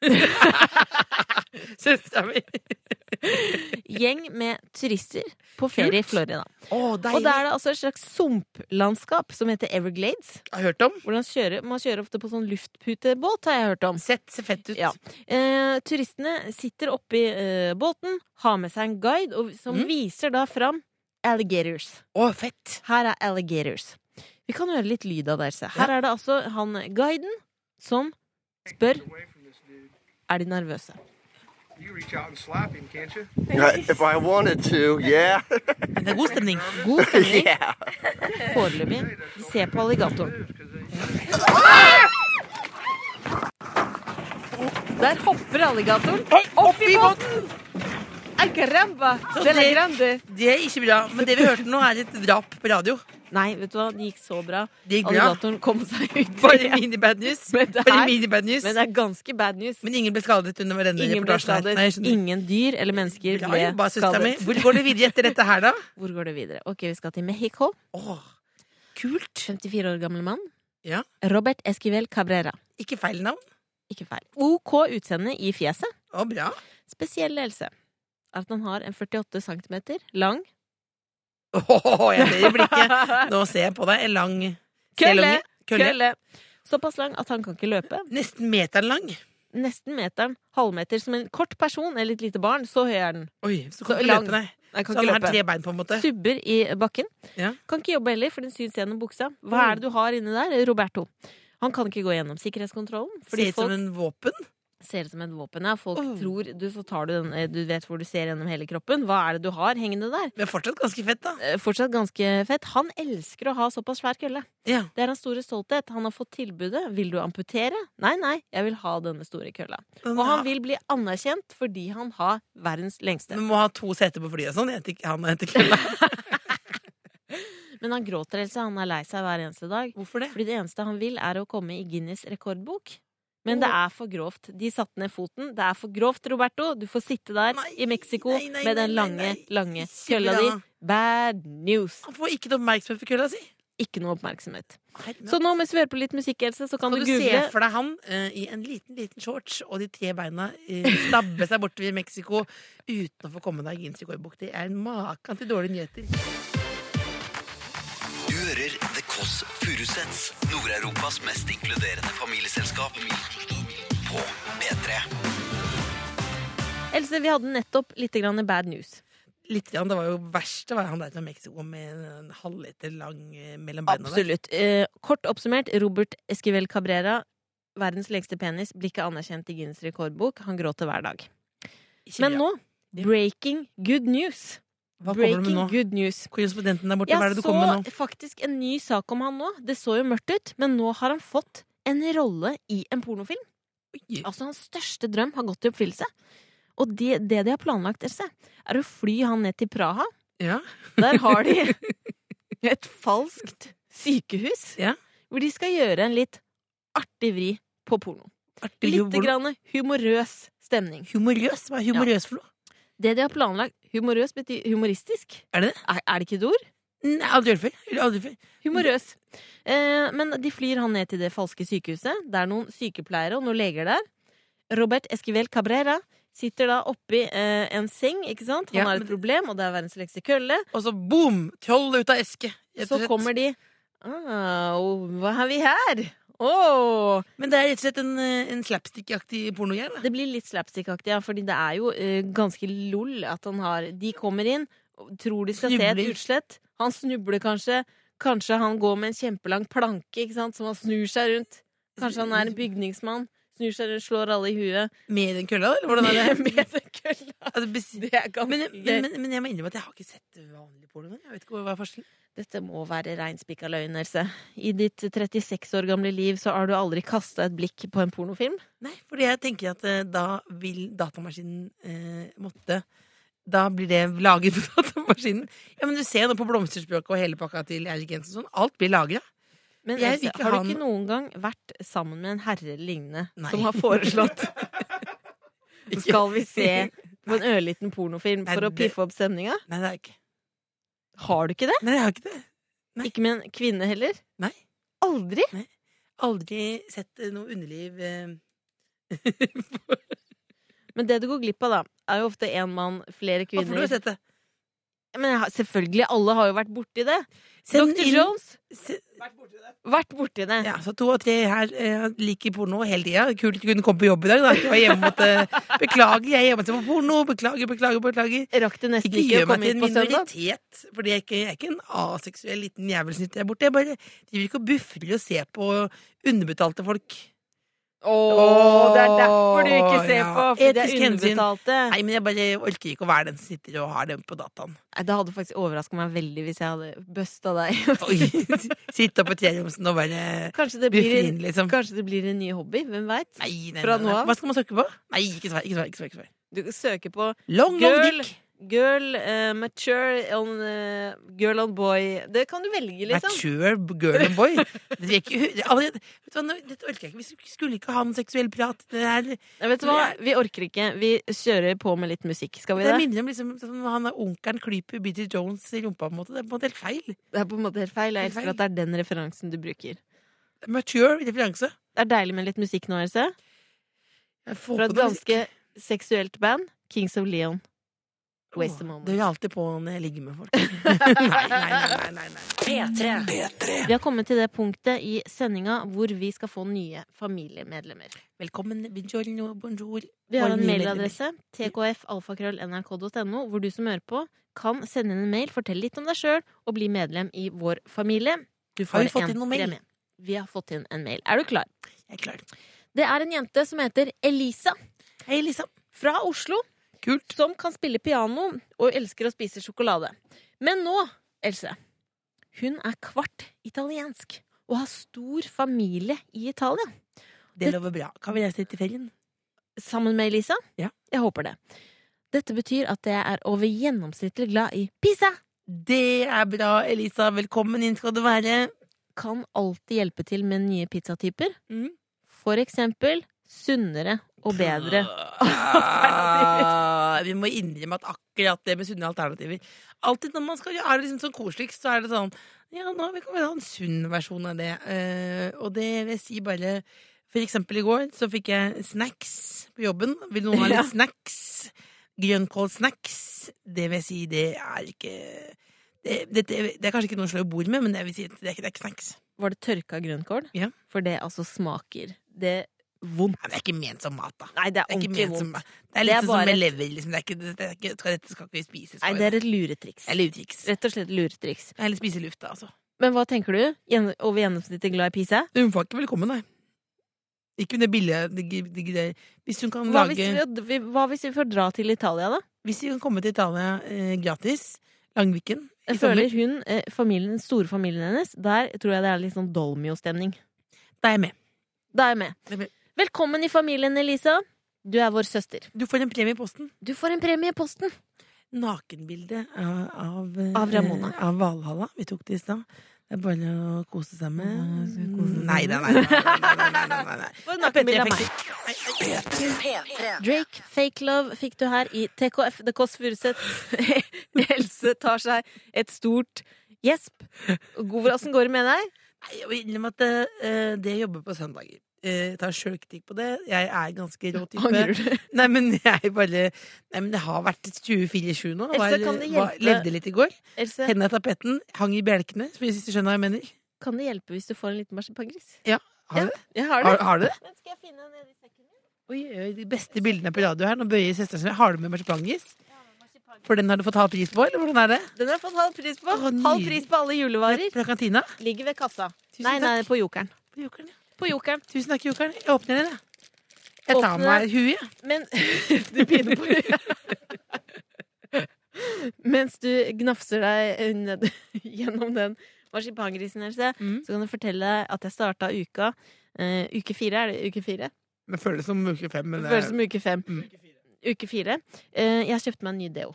S3: [laughs]
S4: Søstera mi.
S3: [laughs] Gjeng med turister på ferie i Florida.
S4: Å,
S3: Og
S4: deilig.
S3: da er det altså et slags sumplandskap som heter Everglades.
S4: Jeg har hørt om.
S3: Hvor man kjører, man kjører ofte på sånn luftputebåt, har jeg hørt om.
S4: Sett ser fett ut.
S3: Ja. Eh, turistene sitter oppi eh, båten, har med seg en guide og, som
S4: Mm.
S3: viser da fram alligators.
S4: Å, fett.
S3: Her er alligators. Vi kan høre litt lyd av det. Else. Her er det altså han guiden som spør Er de nervøse.
S8: You reach out and slap him, can't you?
S9: If I wanted to, yeah.
S4: Men det er god stemning.
S3: God
S9: [laughs]
S3: stemning foreløpig. De ser på alligatoren. Der hopper alligatoren opp i båten! Ay, caramba, de la
S4: det-
S3: grande.
S4: Det er ikke bra. Men det vi hørte nå, er et drap på radio.
S3: Nei, vet du hva, det gikk så bra.
S4: Det gikk bra.
S3: Alligatoren kom seg ut.
S4: [laughs] Bare mini-bad news.
S3: Men det
S4: Bare
S3: er-
S4: mini-bad news.
S3: Men det er ganske bad news.
S4: Men ingen ble skadet under denne
S3: Ingen ble
S4: reportasjen. her.
S3: skadet.
S4: Nei, jeg skjønner.
S3: Ingen dyr eller mennesker
S4: Bra
S3: ble
S4: jobba, søstera mi.
S3: skadet.
S4: Hvor går det videre etter dette
S3: [laughs]
S4: her, da?
S3: Hvor går det videre? Ok, vi skal til Mexico.
S4: Åh, kult.
S3: 54 år gammel mann.
S4: Ja.
S3: Robert Esquivel Cabrera.
S4: Ikke feil navn.
S3: Ikke feil. OK utseende i fjeset.
S4: Å, bra.
S3: Spesiell helse er at han har en 48 cm lang
S4: Åh, jeg ser i blikket. Nå ser jeg på deg. En lang selunge. Kølle.
S3: Kølle! Såpass lang at han kan ikke løpe.
S4: Nesten meteren lang.
S3: Nesten meteren, halvmeter, som en kort person eller et lite barn. Så høy er den.
S4: Oi, så kan
S3: Så
S4: du
S3: lang.
S4: løpe, nei.
S3: Nei, kan
S4: Så han
S3: ikke
S4: har
S3: løpe.
S4: tre bein, på en måte.
S3: Subber i bakken.
S4: Ja.
S3: Kan ikke jobbe heller, for den syns gjennom buksa.
S4: Mm.
S3: Hva er det du har inni der, Roberto? Han kan ikke gå gjennom sikkerhetskontrollen.
S4: Ser
S3: Fordi
S4: ut som
S3: folk
S4: en våpen.
S3: ser ut som et våpen. Ja. Folk tror du, så tar du, den, eh, du vet hvor du ser gjennom hele kroppen. Hva er det du har hengende der?
S4: Men fortsatt ganske fett, da.
S3: Eh, Fortsatt ganske fett. Han elsker å ha såpass svær kølle.
S4: Ja.
S3: Det er hans store stolthet. Han har fått tilbudet. Vil du amputere? Nei, nei, jeg vil ha denne store kølla. Og han vil bli anerkjent fordi han har verdens lengste.
S4: Men må ha to seter på flyet og sånn. Jeg heter, han heter Kølla.
S3: [laughs] Men han gråter, Else. Han er lei seg hver eneste dag.
S4: Hvorfor det?
S3: Fordi det eneste han vil, er å komme i Guinness rekordbok. Men det er for grovt. De satte ned foten. Det er for grovt, Roberto. Du får sitte der
S4: Nei,
S3: i Mexico
S4: nei, nei,
S3: med den
S4: nei,
S3: lange,
S4: nei, nei.
S3: lange
S4: Ikke
S3: kølla
S4: det,
S3: di.
S4: da.
S3: Bad news.
S4: Han får ikke noe oppmerksomhet for kølla si. Sånn
S3: Ikke noe oppmerksomhet.
S4: Herregud.
S3: Så nå mens vi hører på litt musikk, Else, så kan
S4: Kan
S3: du
S4: du
S3: google
S4: se for deg han eh, i en liten liten shorts og de tre beina eh, stabbe seg bortover Mexico uten å få komme deg i Ginsikorbukk? Det er en maken til dårlige nyheter.
S7: Du hører The Kåss Furuseths, Nord-Europas mest inkluderende familieselskap. På P3.
S3: Else, vi hadde nettopp litt grann bad news.
S4: Litt, grann, det var jo verste var han der fra Mexico med en halvliter lang eh, mellom beina. der.
S3: Absolutt. Eh, kort oppsummert, Robert Esquivel Cabrera, verdens lengste penis, blir ikke anerkjent i Guinness rekordbok. Han gråter hver dag.
S4: Ikke
S3: Men
S4: bra.
S3: nå, breaking good news.
S4: Hva kommer du
S3: breaking
S4: med nå?
S3: good news.
S4: Korrespondenten der borte, hva er
S3: Jeg
S4: det du
S3: så
S4: kommer med nå?
S3: faktisk en ny sak om han nå. Det så jo mørkt ut, men nå har han fått en rolle i en pornofilm. Altså, hans største drøm har gått i oppfyllelse. Og det, det de har planlagt, Else, er å fly han ned til Praha.
S4: Ja.
S3: Der har de [laughs] et falskt sykehus
S4: Ja.
S3: hvor de skal gjøre en litt artig vri på porno.
S4: Artig,
S3: Litt
S4: hvor-
S3: grann humorøs stemning.
S4: Humorøs? Hva er humorøs for noe?
S3: Det de har planlagt Humorøs betyr humoristisk.
S4: Er det det?
S3: Er, er det ikke et ord?
S4: Nei, aldri hørt før. Eller Aldri før.
S3: Humorøs. Eh, men de flyr han ned til det falske sykehuset. Det er noen sykepleiere og noen leger der. Robert Esquivel Cabrera sitter da oppi eh, en seng. ikke sant? Han
S4: Ja,
S3: har et
S4: men-
S3: problem, og det er verdens lengste kølle.
S4: Og så boom! Troll ut av eske.
S3: Så kommer de ah, og Hva har vi her? Åh!
S4: Men det er rett og slett en, eh, en slapstick-aktig pornogreie. da.
S3: Det blir litt slapstick-aktig, ja, fordi det er jo eh, ganske lol at han har De kommer inn, og tror de skal se
S4: Snubler.
S3: et utslett. Han snubler kanskje. Kanskje han går med en kjempelang planke ikke sant, som han snur seg rundt. Kanskje han er en bygningsmann. Snur seg rundt, slår alle i
S4: [laughs]
S3: huet.
S4: Med den kølla, eller hvordan er [laughs] det?
S3: [laughs] Med den kølla.
S4: Altså, bes-
S3: Det er ganske
S4: men,
S3: gøy.
S4: men, men, men jeg må innrømme at jeg har ikke sett vanlig porno. Jeg vet ikke hva hva er forskjellen.
S3: Dette må være reinspikka løgn, Else. I ditt 36 år gamle liv så har du aldri kasta et blikk på en pornofilm.
S4: Nei, fordi jeg tenker at eh, da vil datamaskinen eh, måtte da blir det laget på [laughs] datamaskinen. Ja, men Du ser jo nå på blomsterspråket og hele pakka til Eirik Jensen. og Sånn. Alt blir lagra.
S3: Men
S4: Jeg vil
S3: Else,
S4: ikke
S3: har
S4: ha
S3: du ikke
S4: noe-
S3: noen gang vært sammen med en herre eller lignende
S4: Nei.
S3: som har
S4: [laughs]
S3: foreslått Skal vi se på en ørliten pornofilm
S4: Nei,
S3: for å
S4: det-
S3: piffe opp stemninga?
S4: Nei, det er jeg ikke.
S3: Har du ikke det?
S4: Nei, jeg har ikke det. Nei.
S3: Ikke med en kvinne heller?
S4: Nei.
S3: Aldri?
S4: Aldri sett eh, noe underliv eh,
S3: Men det du går glipp av, da, er jo ofte én mann, flere
S4: Hvorfor har
S3: kvinner.
S4: du sett det?
S3: Men jeg har- selvfølgelig, alle har jo vært borti det.
S4: Send
S3: Dr.
S4: inn-
S3: Jones,
S4: Se,
S3: vært borti det.
S4: ja, så to og tre her eh, liker porno hele tida. Kult å kunne komme på jobb i dag. Da. Jeg var hjemme
S3: [laughs]
S4: og måtte, beklager, jeg er hjemme og ser på porno. Beklager, beklager, beklager.
S3: Rakk det nesten
S4: Ikke
S3: ikke,
S4: gjør
S3: å
S4: meg
S3: komme
S4: til en
S3: hit på søndag.
S4: minoritet, for jeg, er ikke- jeg er ikke en aseksuell liten jævelsnytt der borte. Jeg bare driver ikke og buffer og ser på underbetalte folk.
S3: Å, det er derfor du ikke ser
S4: Ja.
S3: på, fordi det
S4: Etisk
S3: er
S4: hensyn.
S3: underbetalte.
S4: Nei, men jeg bare orker ikke å være den som sitter og har den på
S3: [laughs]
S4: dataen.
S3: Nei, Det hadde faktisk overraska meg veldig hvis jeg hadde busta deg.
S4: [laughs] Oi. Sitte oppe på treromsen og bare
S3: Kanskje det, blir
S4: buffer inn,
S3: en,
S4: liksom.
S3: kanskje det blir en ny hobby, hvem veit?
S4: Nei, nei,
S3: Fra
S4: nei,
S3: nå
S4: nei.
S3: av?
S4: Hva skal man søke på? Nei, ikke svar. Ikke svar, ikke svar, ikke svar.
S3: Du søker på
S4: Long, long
S3: girl,
S4: dick.
S3: girl eh, mature on, eh, girl on boy Det kan du velge, liksom.
S4: Mature girl and boy. Det er ikke, allerede, vet du hva, nå- dette orker jeg ikke. Vi skulle ikke ha noen seksuell prat. Det er
S3: Nei, vet du hva? Vi orker ikke. Vi kjører på med litt musikk. Skal vi
S4: Det
S3: det?
S4: minner om liksom, sånn, han der onkelen klyper Biddy Jones i rumpa. på en måte Det er på en måte helt feil.
S3: Det er på en måte helt feil. Jeg
S4: Helt
S3: elsker at det er den referansen du bruker.
S4: Mature referanse.
S3: Det er deilig med litt musikk nå, Else.
S4: Jeg får
S3: Fra
S4: på
S3: et
S4: noe
S3: ganske
S4: musikk.
S3: seksuelt band. Kings of Leon. Waste a
S4: Åh,
S3: moment.
S4: Det gjør jeg alltid på når jeg ligger med
S3: [laughs]
S4: folk. nei, nei, nei, nei, nei.
S1: P3.
S3: Vi har kommet til det punktet i sendinga hvor vi skal få nye familiemedlemmer.
S4: Velkommen. Buongiorno, bonjour.
S3: Vi har en
S4: Nye
S3: mailadresse, tkfalfakrøll.nrk.no, hvor du som hører på, kan sende inn en mail, fortelle litt om deg sjøl og bli medlem i vår familie. Du
S4: Har vi
S3: får
S4: fått
S3: en
S4: inn noen mail?
S3: premie. Vi har fått inn en mail. Er du klar?
S4: Jeg er klar.
S3: Det er en jente som heter Elisa
S4: Hei, Lisa.
S3: fra Oslo.
S4: Kult.
S3: Som kan spille piano og elsker å spise sjokolade. Men nå, Else Hun er kvart italiensk og har stor familie i Italia.
S4: Det lover bra. Kan vi reise litt i ferien?
S3: Sammen med Elisa?
S4: Ja.
S3: Jeg håper det. Dette betyr at jeg er over gjennomsnittlig glad i pizza.
S4: Det er bra, Elisa. Velkommen inn skal du være.
S3: Kan alltid hjelpe til med nye pizzatyper.
S4: Mm.
S3: For eksempel sunnere og bedre.
S4: Ah, vi må innrømme at akkurat det med sunne alternativer Alltid når man skal gjøre det liksom sånn koseligst, så er det sånn Ja, nå kan vi ha en sunn versjon av det. Eh, og det vil jeg si bare For eksempel i går så fikk jeg snacks på jobben. Vil noen ha litt snacks? Grønnkålsnacks. Det vil jeg si, det er ikke det, det, det, det er kanskje ikke noe å slå i bord med, men jeg vil si at det er ikke, det er ikke snacks.
S3: Var det tørka grønnkål?
S4: Ja.
S3: For det altså smaker det vondt.
S4: Nei, men det er ikke ment som mat, da.
S3: Nei, det er
S4: Det er, ikke
S3: ordentlig
S4: ment som,
S3: vondt.
S4: det er
S3: Det
S4: litt
S3: er
S4: sånn
S3: bare
S4: som med
S3: et-
S4: lever. Liksom. Det er ikke, det er ikke, skal- dette skal ikke vi spise.
S3: Nei, det er et luretriks.
S4: Eller utriks.
S3: Rett og slett luretriks.
S4: Eller spise luft, da, altså.
S3: Men hva tenker du? Gjen- Over gjennomsnittet glad i pizza?
S4: Hun får ikke velkommen, nei. Ikke under bildet det gi- det greier. Hvis hun kan
S3: Hva hvis,
S4: lage
S3: vi, vi- hva hvis vi får dra til Italia, da?
S4: Hvis vi kan komme til Italia eh, gratis, Langviken i
S3: Jeg
S4: sommer,
S3: føler hun, eh, familien, den store familien hennes, der tror jeg det er litt sånn Dolmio-stemning.
S4: da er jeg med.
S3: Da er jeg med.
S4: Det er med.
S3: Velkommen i familien, Elisa. Du er vår søster.
S4: Du får en premie i posten.
S3: Du får en premie i posten.
S4: Nakenbilde av Av, eh,
S3: Av Ramona.
S4: av Valhalla. Vi tok det i stad. Det er bare å kose seg med.
S3: kose seg
S4: Nei da, nei. nei, nei, nei, nei, nei, nei.
S3: For [laughs] nakenbilde av meg.
S4: Nei, nei, nei.
S3: Drake, Fake Love fikk du her i TKF The Kåss Furuseth. [laughs] Else tar seg et stort gjesp. God hvordan går det med deg?
S4: Nei, Jeg vil innrømme at eh, det jeg jobber på søndager. Eh, Jeg tar sjølkritikk på det. Jeg er ganske rå type.
S3: Angrer du?
S4: Nei, men jeg bare Nei, men det har vært 24-7 nå.
S3: Else, kan det hjelpe-
S4: levde litt i går.
S3: Else,
S4: Hendene i tapetten, hang i bjelkene, for hvis du skjønner hva jeg mener.
S3: kan det hjelpe hvis du får en liten marsipangris?
S4: Ja, har du det?
S3: Jeg har det.
S4: Har, har du det?
S3: Men skal jeg finne den nede i sekken min?
S4: Oi, oi, de beste bildene på radio her. Nå bøyer søsteren sin. Har du med marsipangis? For den har du fått halv pris på, eller hvordan er det?
S3: Den har jeg fått halv pris på.
S4: Å, nydelig.
S3: Halv pris på alle julevarer.
S4: Fra kantina?
S3: Ligger ved kassa.
S4: Tusen
S3: Nei, nei,
S4: takk.
S3: på jokeren.
S4: Jokeren, ja.
S3: På jokeren.
S4: Tusen takk, jokeren. Jeg åpner den, jeg. Jeg tar
S3: Åpne
S4: meg huet. jeg.
S3: Men [laughs] du begynner på Mens du gnafser deg eh, ned, [laughs] gjennom den marsipangrisen, Else,
S4: Mm.
S3: så kan jeg fortelle deg at jeg starta uka eh, Uke fire, er det uke fire?
S4: Det føles som uke fem, men
S3: Det
S4: det
S3: føles som uke fem.
S4: Mm.
S3: Uke fire. Eh, jeg kjøpte meg en ny deo.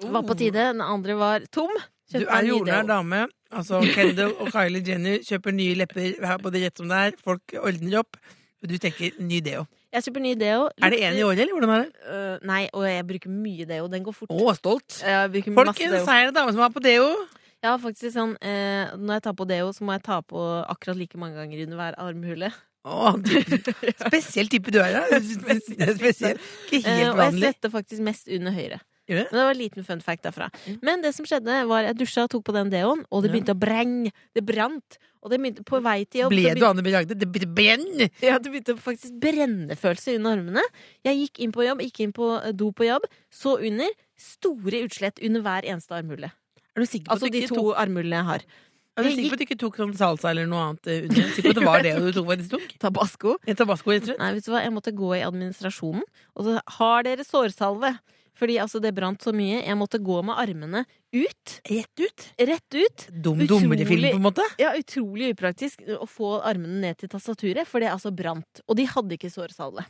S4: Oh.
S3: Var på tide. Den andre var tom.
S4: Du
S3: Kjøpte
S4: er
S3: meg en ny
S4: jordnær
S3: deo.
S4: dame.
S3: [laughs]
S4: Altså, Kendal og Kylie Jenner kjøper nye lepper her på det rett som det er. Folk ordner opp. Og du tenker ny deo.
S3: Jeg kjøper ny deo.
S4: Er det én i året, eller hvordan er det?
S3: Eh, nei, og jeg bruker mye deo. Den går fort.
S4: Å, stolt.
S3: Jeg bruker masse
S4: Folkens,
S3: deo.
S4: her Eh, er det dame som har på deo.
S3: Jeg har faktisk sånn eh, Når jeg tar på deo, så må jeg ta på akkurat like mange ganger under hver armhule.
S4: Å, du, [laughs] spesiell type du er,
S3: [laughs]
S4: da. Det er Spesiell. Ikke
S3: Eh, og
S4: helt
S3: jeg
S4: vanlig.
S3: svetter faktisk mest under høyre.
S4: Gjør du det?
S3: Men det var en liten fun fact derfra. Men det som skjedde, var jeg dusja og tok på den deoen, og det
S4: Mm. Ja.
S3: begynte å brenne. Det brant. Og det begynte på vei til jobb
S4: Ble
S3: så
S4: du
S3: begynte,
S4: Anne B. Ragde? Det ble brenn!
S3: ja, Det begynte faktisk brennefølelse under armene. Jeg gikk inn på jobb, gikk inn på eh, do på jobb, så under. Store utslett under hver eneste armhule.
S4: Er du sikker på
S3: Altså
S4: at du
S3: de
S4: ikke
S3: to
S4: tok,
S3: armhulene jeg har.
S4: er du sikker på at du ikke tok sånn salsa eller noe annet eh, under? Sikker på at det var det du tok faktisk tok?
S3: [laughs] Tabasco.
S4: En tabasco, rett og slett?
S3: Nei, vet du hva, jeg måtte gå i administrasjonen Og så har dere sårsalve Fordi altså det brant så mye Jeg måtte gå med armene ut
S4: Rett ut?
S3: Rett ut
S4: Dum dummere-film, på en måte?
S3: Ja, utrolig upraktisk Å få armene ned til tastaturet For det altså brant Og de hadde ikke sårsalve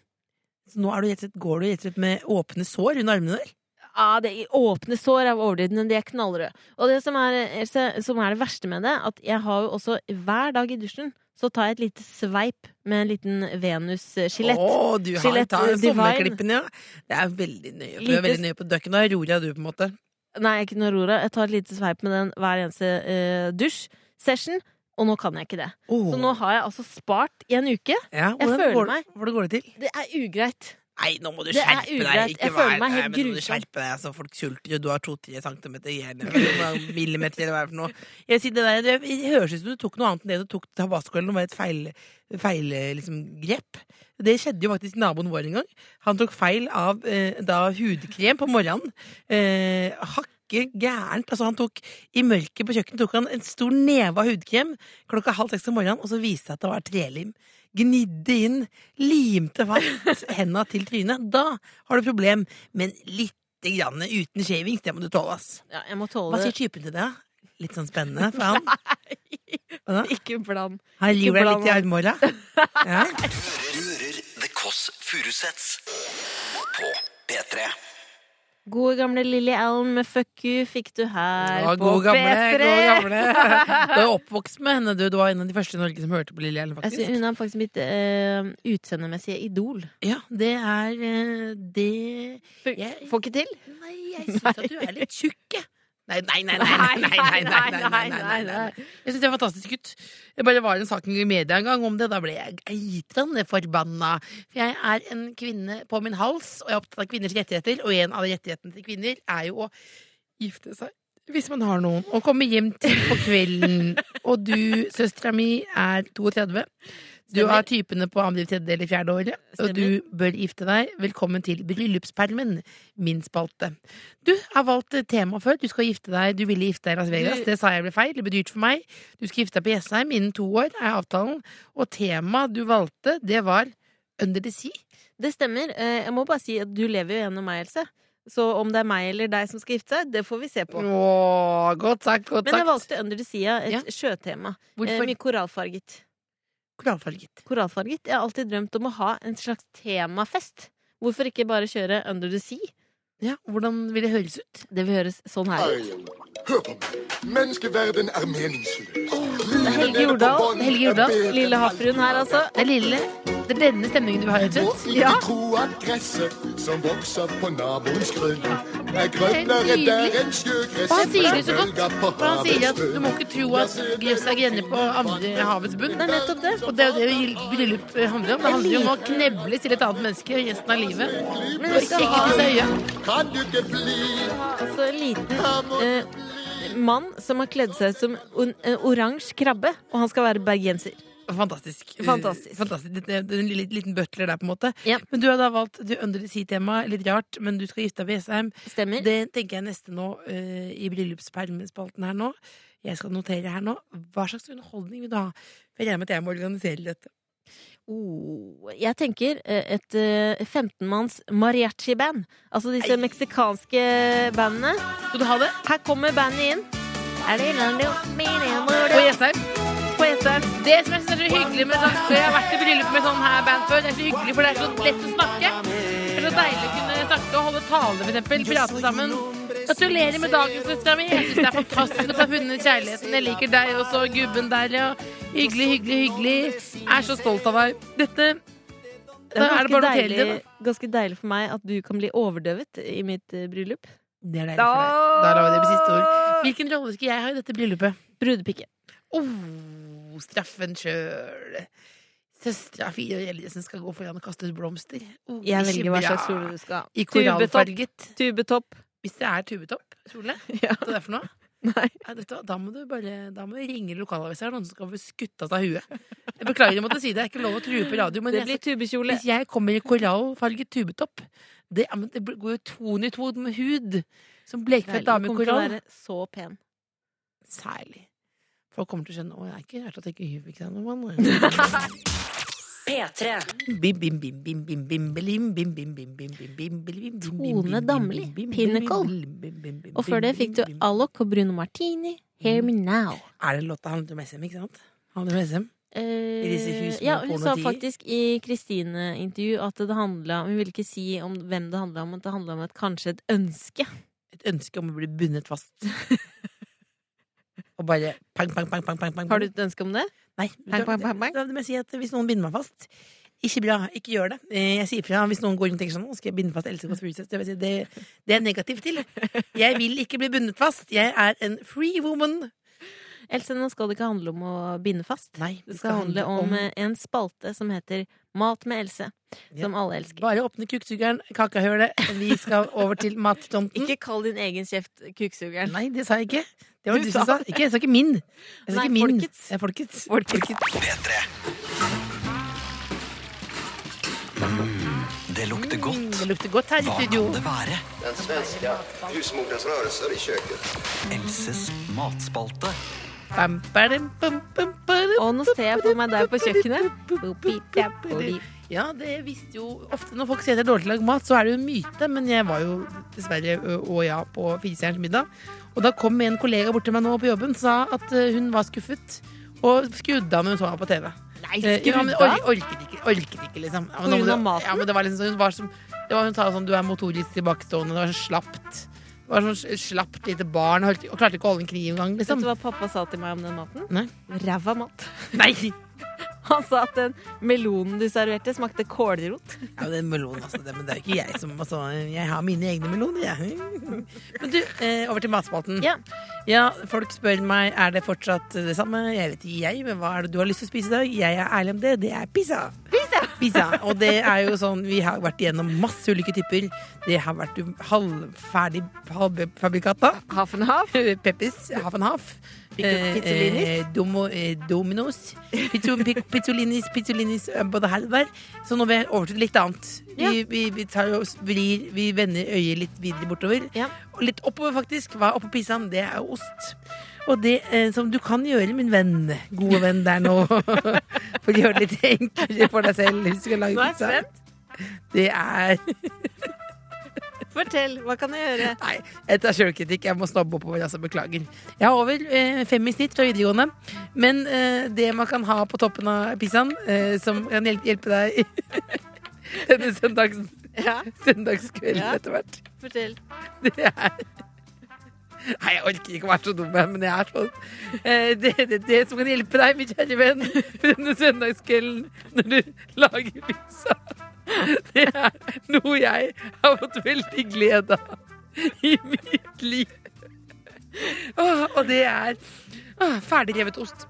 S4: Så nå er du rett og slett, går du rett og slett med åpne sår under armene der?
S3: Ja, det i åpne sår av overdrivene De er knallrøde Og det som er, Else, som er det verste med det At jeg har jo også hver dag i dusjen Så tar jeg et lite sveip Med en liten Venus-skjelett
S4: Å, du har
S3: Skjelett,
S4: tar
S3: eh, divine.
S4: sommerklippene, ja. Det er veldig nøye. Du
S3: Lite-
S4: er veldig nøye på døkken. Nå er Aurora du, på en måte.
S3: Nei, jeg er ikke noe Aurora. Jeg tar et lite sveip med den hver eneste eh, dusj-session. Og nå kan jeg ikke det.
S4: Åh.
S3: Så nå har jeg altså spart i en uke.
S4: ja,
S3: jeg
S4: hvordan
S3: føler
S4: går, det-
S3: meg-
S4: Hvordan går det til?
S3: Det er ugreit.
S4: Nei, nå må du
S3: Det er
S4: skjerpe
S3: ugreit.
S4: deg. Ikke
S3: Jeg
S4: vær-
S3: føler meg
S4: nei,
S3: helt
S4: men nå må du
S3: grusom.
S4: Skjerpe deg, altså, folk sulter jo. Du har to-tre centimeter igjen. eller noen Millimeter eller hva det er for noe. Jeg sier, det, der, det høres ut som du tok noe annet enn det du tok tabasco eller noe. var et feil, feil eh, liksom, grep. Det skjedde jo faktisk naboen vår en gang. Han tok feil av eh, da hudkrem på morgenen. Eh, hakk ganske gærent. Altså, han tok, I mørket på kjøkkenet tok han en stor neve av hudkrem klokka halv seks om morgenen, og så viste det seg at det var trelim. Gnidde inn, limte fast henda til trynet. Da har du problem, men lite grann uten shavings, det må du tåle, ass.
S3: Ja, jeg må
S4: Hva
S3: tåle
S4: sier
S3: det.
S4: typen til det? da? Litt sånn spennende for han? Hva da?
S3: [laughs] Ikke bland.
S4: Han
S3: ikke
S4: river deg
S3: bland
S4: litt i armhåla? Ja.
S7: Du hører The Kåss Furuseths på P3.
S3: Gode gamle Lilly Allen med Fuck you fikk du her
S4: Ja,
S3: på
S4: god gamle,
S3: P3.
S4: god
S3: [laughs]
S4: gamle. Du er jo oppvokst med henne, du. Du var en av de første i Norge som hørte på Lille Ellen,
S3: Jeg
S4: faktisk.
S3: synes hun er faktisk mitt eh, utseendemessige idol.
S4: Ja, det er eh, det
S3: Får
S4: Jeg-
S3: får ikke til?
S4: Nei, jeg syns at du er litt tjukk, jeg. Nei, nei, nei, nei, nei, nei, nei, nei, nei, nei, nei, nei. Jeg syns det er fantastisk gutt. Det bare var en sak i media en gang om det, da ble jeg eitrende forbanna. For jeg er en kvinne på min hals, og jeg er opptatt av kvinners rettigheter, og en av rettighetene til kvinner er jo å gifte seg. Hvis man har noen, og komme hjem til på [laughs] kvelden, og du, søstera mi, er 32. Du
S3: Stemmer.
S4: har typene på andre, tredje eller fjerde året, og du bør gifte deg. Velkommen til bryllupspermen, min spalte. Du har valgt eh, tema før. Du skal gifte deg, du ville gifte deg i Las Vegas. Det sa jeg ble feil. Det ble dyrt for meg. Du skal gifte deg på Jessheim innen to år, er avtalen. Og temaet du valgte, det var Under the Sea.
S3: Det stemmer. Eh, jeg må bare si at du lever jo gjennom meg, Else. Så om det er meg eller deg som skal gifte seg, det får vi se på.
S4: Åh, godt sagt, godt
S3: Men jeg
S4: sagt.
S3: valgte Under the Sea, et
S4: Ja.
S3: sjøtema. Eh,
S4: Hvorfor
S3: mye korallfarget.
S4: korallfarget?
S3: korallfarget. Jeg har alltid drømt om å ha en slags temafest. Hvorfor ikke bare kjøre Under the Sea?
S4: Ja, hvordan vil det høres ut?
S3: Det vil høres sånn her ut.
S10: Hør på meg. Menneskeverden er meningsløs.
S3: Det er Helge Jordal.
S4: Helge Jordal.
S3: Lille havfruen her, altså.
S4: Det er lille. Det er denne stemningen du har, Rødt.
S10: Må ikke tro at gresset som vokser på naboens krøller, er
S4: Det
S10: grønnere
S4: er
S10: der
S4: nydelig.
S10: enn sjøgress
S4: Og han sier det så
S10: som bølger på
S4: godt. For han sier
S10: havets
S4: at du
S10: bunn.
S4: må ikke tro at gress er grener på andre havets bunn.
S3: Det er nettopp det.
S4: Og det er jo det gild- bryllup handler om. Det handler jo om å knebles til et annet menneske resten av livet.
S3: Men
S4: Og
S3: jeg
S4: ikke
S3: skal ha
S4: krysse øya.
S10: Kan du ikke bli
S3: altså, en liten eh, mann som har kledd seg ut som en en oransje krabbe, og han skal være bergenser.
S4: Fantastisk.
S3: Fantastisk.
S4: Eh, Fantastisk. Det, det, det er en liten, liten butler der, på en måte.
S3: Ja.
S4: Men du har da valgt du Under the Sea-tema. Litt rart, men du skal gifte deg ved Jessheim.
S3: Stemmer?
S4: Det tenker jeg neste nå eh, i bryllupspermespalten her nå. Jeg skal notere her nå. Hva slags underholdning vil du ha? For jeg regner med at jeg må organisere dette.
S3: Oh, jeg tenker eh, et eh, 15-manns mariachi-band. Altså disse meksikanske bandene.
S4: Skal du ha det?
S3: Her kommer bandet inn. Er det
S4: På Jessheim?
S3: på Jessheim?
S4: Det som jeg synes er så hyggelig med sånn, for Jeg har vært i bryllup med sånn her band før. Det er så hyggelig, for det er så lett å snakke. Det er så deilig å kunne snakke og holde tale, for eksempel. Prate sammen. Gratulerer med dagen, søstera mi. Jeg syns det er fantastisk at du har funnet kjærligheten. Jeg liker deg også, gubben der, ja. Hyggelig, hyggelig, hyggelig. Jeg er så stolt av deg. Dette
S3: Det er
S4: Da er det
S3: ganske
S4: bare å notere
S3: deilig,
S4: det, da.
S3: ganske deilig for meg at du kan bli overdøvet i mitt eh, bryllup.
S4: Det er deilig for deg. Da la vi det på siste ord. Hvilken rolle skal jeg ha i dette bryllupet?
S3: Brudepikke.
S4: Oh, straffen sjøl. Søstera av fire år eldre som skal gå foran og kaste ut blomster. Oh,
S3: Jeg
S4: ikke
S3: velger hva
S4: bra.
S3: slags kjole du skal ha.
S4: I
S3: Tubetopp.
S4: korallfarget.
S3: Tubetopp.
S4: Hvis det er tubetopp-kjole,
S3: [laughs] Ja.
S4: hva er det for noe?
S3: Nei.
S4: Ja, vet du hva, da må du bare Da må du ringe lokalavisa, noen som skal få skutt av seg huet. Jeg beklager å måtte si det, det er ikke lov å true på radio, men
S3: Det
S4: jeg,
S3: blir tubekjole.
S4: hvis jeg kommer i korallfarget tubetopp det, ja, men det går jo ton i ton med hud. Som blekfett
S3: Deilig. Du
S4: dame i
S3: kommer til å
S4: korall.
S3: være så pen.
S4: Særlig. Folk kommer til å skjønne Å, det er ikke rart at jeg ikke hyver seg
S3: [laughs]
S4: noe, mann.
S1: P3.
S4: Bim, bim, bim, bim, bim, bim, belim, bim, bim, bim, bim, bim, bim, belim, bim, bim,
S3: Tone
S4: bim, bim,
S3: Damli,
S4: bim, bim,
S3: Pinnacle.
S4: bim, bim, bim, bim,
S3: Og før det fikk du
S4: bim, bim.
S3: Alok og Bruno Martini. Hear me now.
S4: Er det låta handler om SM, ikke sant? Handler om SM?
S3: Eh,
S4: disse hus med
S3: ja, hun sa
S4: pornotier.
S3: faktisk i Kristine-intervju at det handla Hun ville ikke si om hvem det handla om, at det handla om et, kanskje et ønske.
S4: Et ønske om å bli bundet fast.
S3: [laughs]
S4: Og bare pang, pang, pang, pang, pang, pang.
S3: Har du et ønske om det?
S4: Nei,
S3: Pang, pang, pang, pang.
S4: Da må jeg si at hvis noen binder meg fast Ikke bra, ikke gjør det. Eh, Jeg sier fra hvis noen går rundt og tenker sånn Nå skal jeg binde fast Else Kåss Furuseth. Det, vil jeg si, det, det er jeg negativ til. Jeg vil ikke bli bundet fast. Jeg er en free woman.
S3: Else, nå skal det ikke handle om å binde fast.
S4: Nei,
S3: Det skal handle om eh, en spalte som heter Mat med Else,
S4: Ja.
S3: som alle elsker.
S4: Bare åpne kuksugeren, kakahølet. Vi skal over til mattomten.
S3: Ikke kall din egen kjeft kuksugeren.
S4: Nei, det sa jeg ikke. Det var
S3: Du
S4: du som
S3: sa
S4: sa. Ikke, jeg sa ikke min. Jeg sa
S3: Nei,
S4: ikke min.
S3: folkets.
S4: Det er folkets.
S3: Folkets.
S7: P3. Mm. Det lukter
S4: godt. Mm. Det lukter godt her i
S7: Hva
S4: studio.
S7: kan det være?
S9: Den svenska husmoderns rörelser i köket.
S7: Elses matspalte.
S4: Bam, badum, bum, bum, badum.
S3: Og nå ser jeg for meg deg på kjøkkenet.
S4: Ja, det visste jo ofte Når folk sier at det er dårlig til å lage mat, så er det jo en myte. Men jeg var jo dessverre ø, og ja på Fisejerns middag. Og da kom en kollega bort til meg nå på jobben og sa at ø, hun var skuffet. Og skrudde av når hun så meg på TV.
S3: Nei,
S4: Eh, ja, men
S3: skrudd
S4: or
S3: av!
S4: orket ikke, orket ikke liksom.
S3: På
S4: Ja, men nå må
S3: grunn av
S4: du-
S3: maten?
S4: Ja, men det var liksom sånn, hun, var som, det var, hun sa sånn, du er motorisk tilbakestående, det var sånn slappt. Det var sånn s- slappt lite barn, holdt, og klarte ikke å holde en kniv engang,
S3: Vet
S4: liksom.
S3: du hva pappa sa til meg om den maten?
S4: Nei.
S3: Ræva mat. [laughs]
S4: Nei!
S3: Han sa at den melonen du serverte, smakte kålrot.
S4: [laughs] Ja, men det er melon, altså. Det, men det er ikke jeg som altså, Jeg har mine egne meloner, jeg. [laughs] Men du, eh, over til matspalten.
S3: Ja.
S4: Ja, folk spør meg er det fortsatt det samme. Jeg vet ikke jeg, men hva er det du har lyst til å spise i dag? Jeg er ærlig om det. Det er pizza. Pizza! Og det er jo sånn, vi har vært igjennom masse ulike typer. Det har vært halvferdig halvfabrikata.
S3: Half and half.
S4: [laughs] Peppes, half and half. Eh,
S3: pizzolinis.
S4: eh, domo, eh, dominos. Pizzo, pi- pizzolinis, pizzolinis, eh, både her og der. Så nå vil jeg over til litt annet. Vi,
S3: Ja.
S4: vi, vi tar oss, vrir, vi vender øyet litt videre bortover.
S3: Ja.
S4: Og litt oppover, faktisk. Hva er oppå pizzaen? Det er ost. Og det eh, som du kan gjøre, min venn, gode venn der nå [laughs] For å gjøre det litt enklere for deg selv hvis du skal lage
S3: Nå er jeg
S4: pizza.
S3: spent.
S4: Det er
S3: Fortell, hva kan jeg gjøre?
S4: Nei, jeg tar sjølkritikk. Jeg må snobbe oppover. Altså, beklager. Jeg har over eh, fem i snitt fra videregående. Men eh, det man kan ha på toppen av pizzaen, eh, som kan hjelpe, hjelpe deg [laughs] denne søndags,
S3: Ja,
S4: søndagskvelden
S3: Ja.
S4: etter hvert,
S3: fortell.
S4: [laughs] det er Nei, jeg orker ikke å være så dum, jeg, men jeg er sånn. Eh, Det, det, det som kan hjelpe deg, min kjære venn, på denne søndagskvelden når du lager pizza, det er noe jeg har fått veldig glede av i mitt liv. Åh, og det er åh, ferdigrevet ost.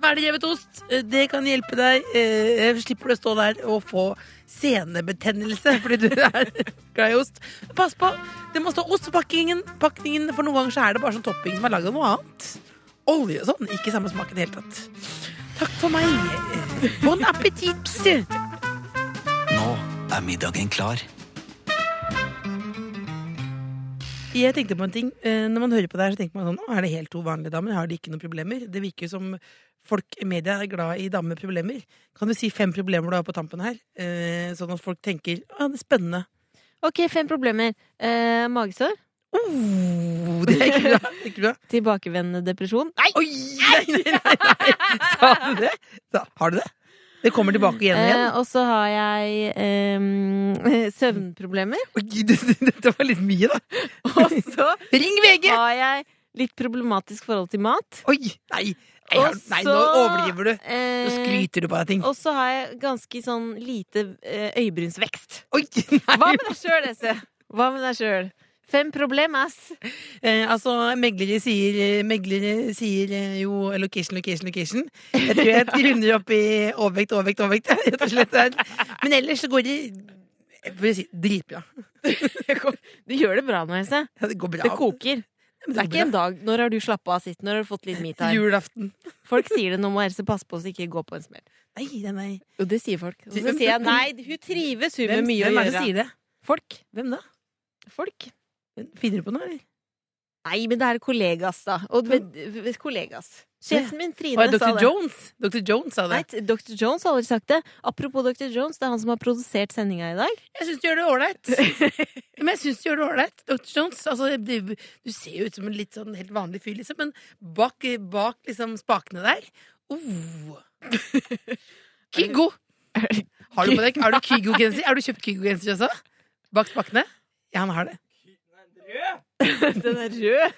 S4: Ferdigrevet ost, eh, det kan hjelpe deg. Eh, slipper du å stå der og få senebetennelse fordi du [laughs] er glad i ost. Pass på, det må stå ost på pakningen, pakningen, for noen ganger så er det bare sånn topping som er laget av noe annet. Olje og sånn. Ikke samme smak i det hele tatt. Takk for meg. Eh, Bon appétit!
S7: Nå er middagen klar.
S4: Jeg tenkte på en ting. Eh, Når man hører på det her, så tenker man sånn Å, er det helt to vanlige damer? Har de ikke noen problemer? Det virker jo som folk i media er glad i damer med problemer. Kan du si fem problemer du har på tampen her? Eh, Sånn at folk tenker Å, det er spennende.
S3: Ok, fem problemer. Eh, magesår.
S4: Oh, det er ikke bra. Det er ikke bra.
S3: Tilbakevendende depresjon. Nei!
S4: Oi! Nei, nei, nei, nei. Sa du det? Sa, har du det? Det kommer tilbake igjen og igjen.
S3: Eh, og så har jeg eh, [laughs]
S4: [laughs]
S3: søvnproblemer.
S4: Oi, det- Dette var litt mye, da.
S3: Og så
S4: Ring VG!
S3: har jeg litt problematisk forhold til mat.
S4: Oi! Nei, nei, har- nei nå
S3: Og så-
S4: overdriver du. Nå
S3: Eh,
S4: skryter du på deg ting.
S3: og så har jeg ganske sånn lite eh, øyebrynsvekst.
S4: Oi, nei.
S3: Hva med deg sjøl, Esse? Hva med deg sjøl? Fem problem, ass.
S4: Eh, altså, meglere sier, eh, meglere sier eh, jo eh, location, location, location. Jeg tror jeg runder opp i overvekt, overvekt, overvekt. [laughs] Rett og slett. Men ellers så går det for å si, dritbra. [laughs]
S3: Du gjør det bra nå, Esse.
S4: Ja, det går bra.
S3: Det koker.
S4: Men
S3: Det er ikke en dag Når har du slappa av sist? Når har du fått litt metime?
S4: Julaften.
S3: Folk sier det, nå må Else passe på så ikke gå på en smell.
S4: Nei, nei, nei.
S3: Jo, det sier folk. Og så
S4: Hvem-
S3: sier jeg nei, hun trives hun med
S4: Hvem,
S3: mye å
S4: hvem er det
S3: gjøre.
S4: som sier det?
S3: Folk.
S4: Hvem da?
S3: Folk.
S4: Finner du på noe, eller?
S3: Nei, men det er kollegas, da. Og ved, ved kollegas. Sjefen min, Trine,
S4: Å, ja,
S3: sa
S4: Dr.
S3: det.
S4: Jones. Dr. Jones sa
S3: Nei,
S4: det.
S3: t- Dr. Jones har aldri sagt det. Apropos Dr. Jones, det er han som har produsert sendinga i dag.
S4: Jeg syns du gjør det ålreit. Men jeg syns du gjør det ålreit, Dr. Jones. Altså, du, du ser jo ut som en litt sånn helt vanlig fyr, liksom, men bak, bak liksom spakene der oh. Kygo! Har du på deg Har du Kygo-genser? Har du kjøpt Kygo-genser også? Bak spakene? Ja, han har det.
S3: [laughs] Den er [laughs] rød!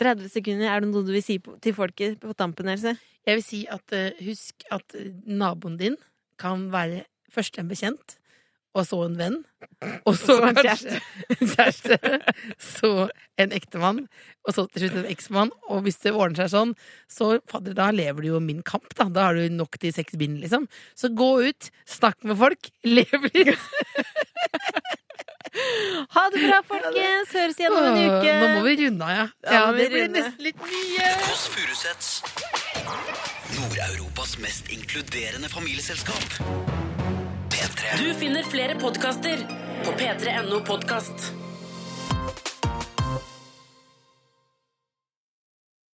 S3: 30 sekunder. Er det noe du vil si på- til folket på tampen, Else?
S4: Jeg vil si at eh, husk at eh, naboen din kan være først en bekjent, og så en venn, [laughs] og
S3: Så
S4: så
S3: en
S4: kanskje en kjæreste, så en ektemann, og så til slutt en eksmann. Og hvis det ordner seg sånn, så fadder, da lever du jo min kamp, da. Da har du nok til seks bind, liksom. Så gå ut, snakk med folk, [laughs] lev litt.
S3: Ha det bra, folkens! Høres igjen om en
S4: Åh,
S3: uke!
S4: Nå må vi runde av, ja.
S3: Ja,
S4: ja.
S3: nå må
S4: Det
S3: vi
S4: blir
S3: runde.
S4: nesten litt mye.
S7: Kåss Furuseths. Nord-Europas mest inkluderende familieselskap.
S1: Du finner flere podkaster på p3.no podkast.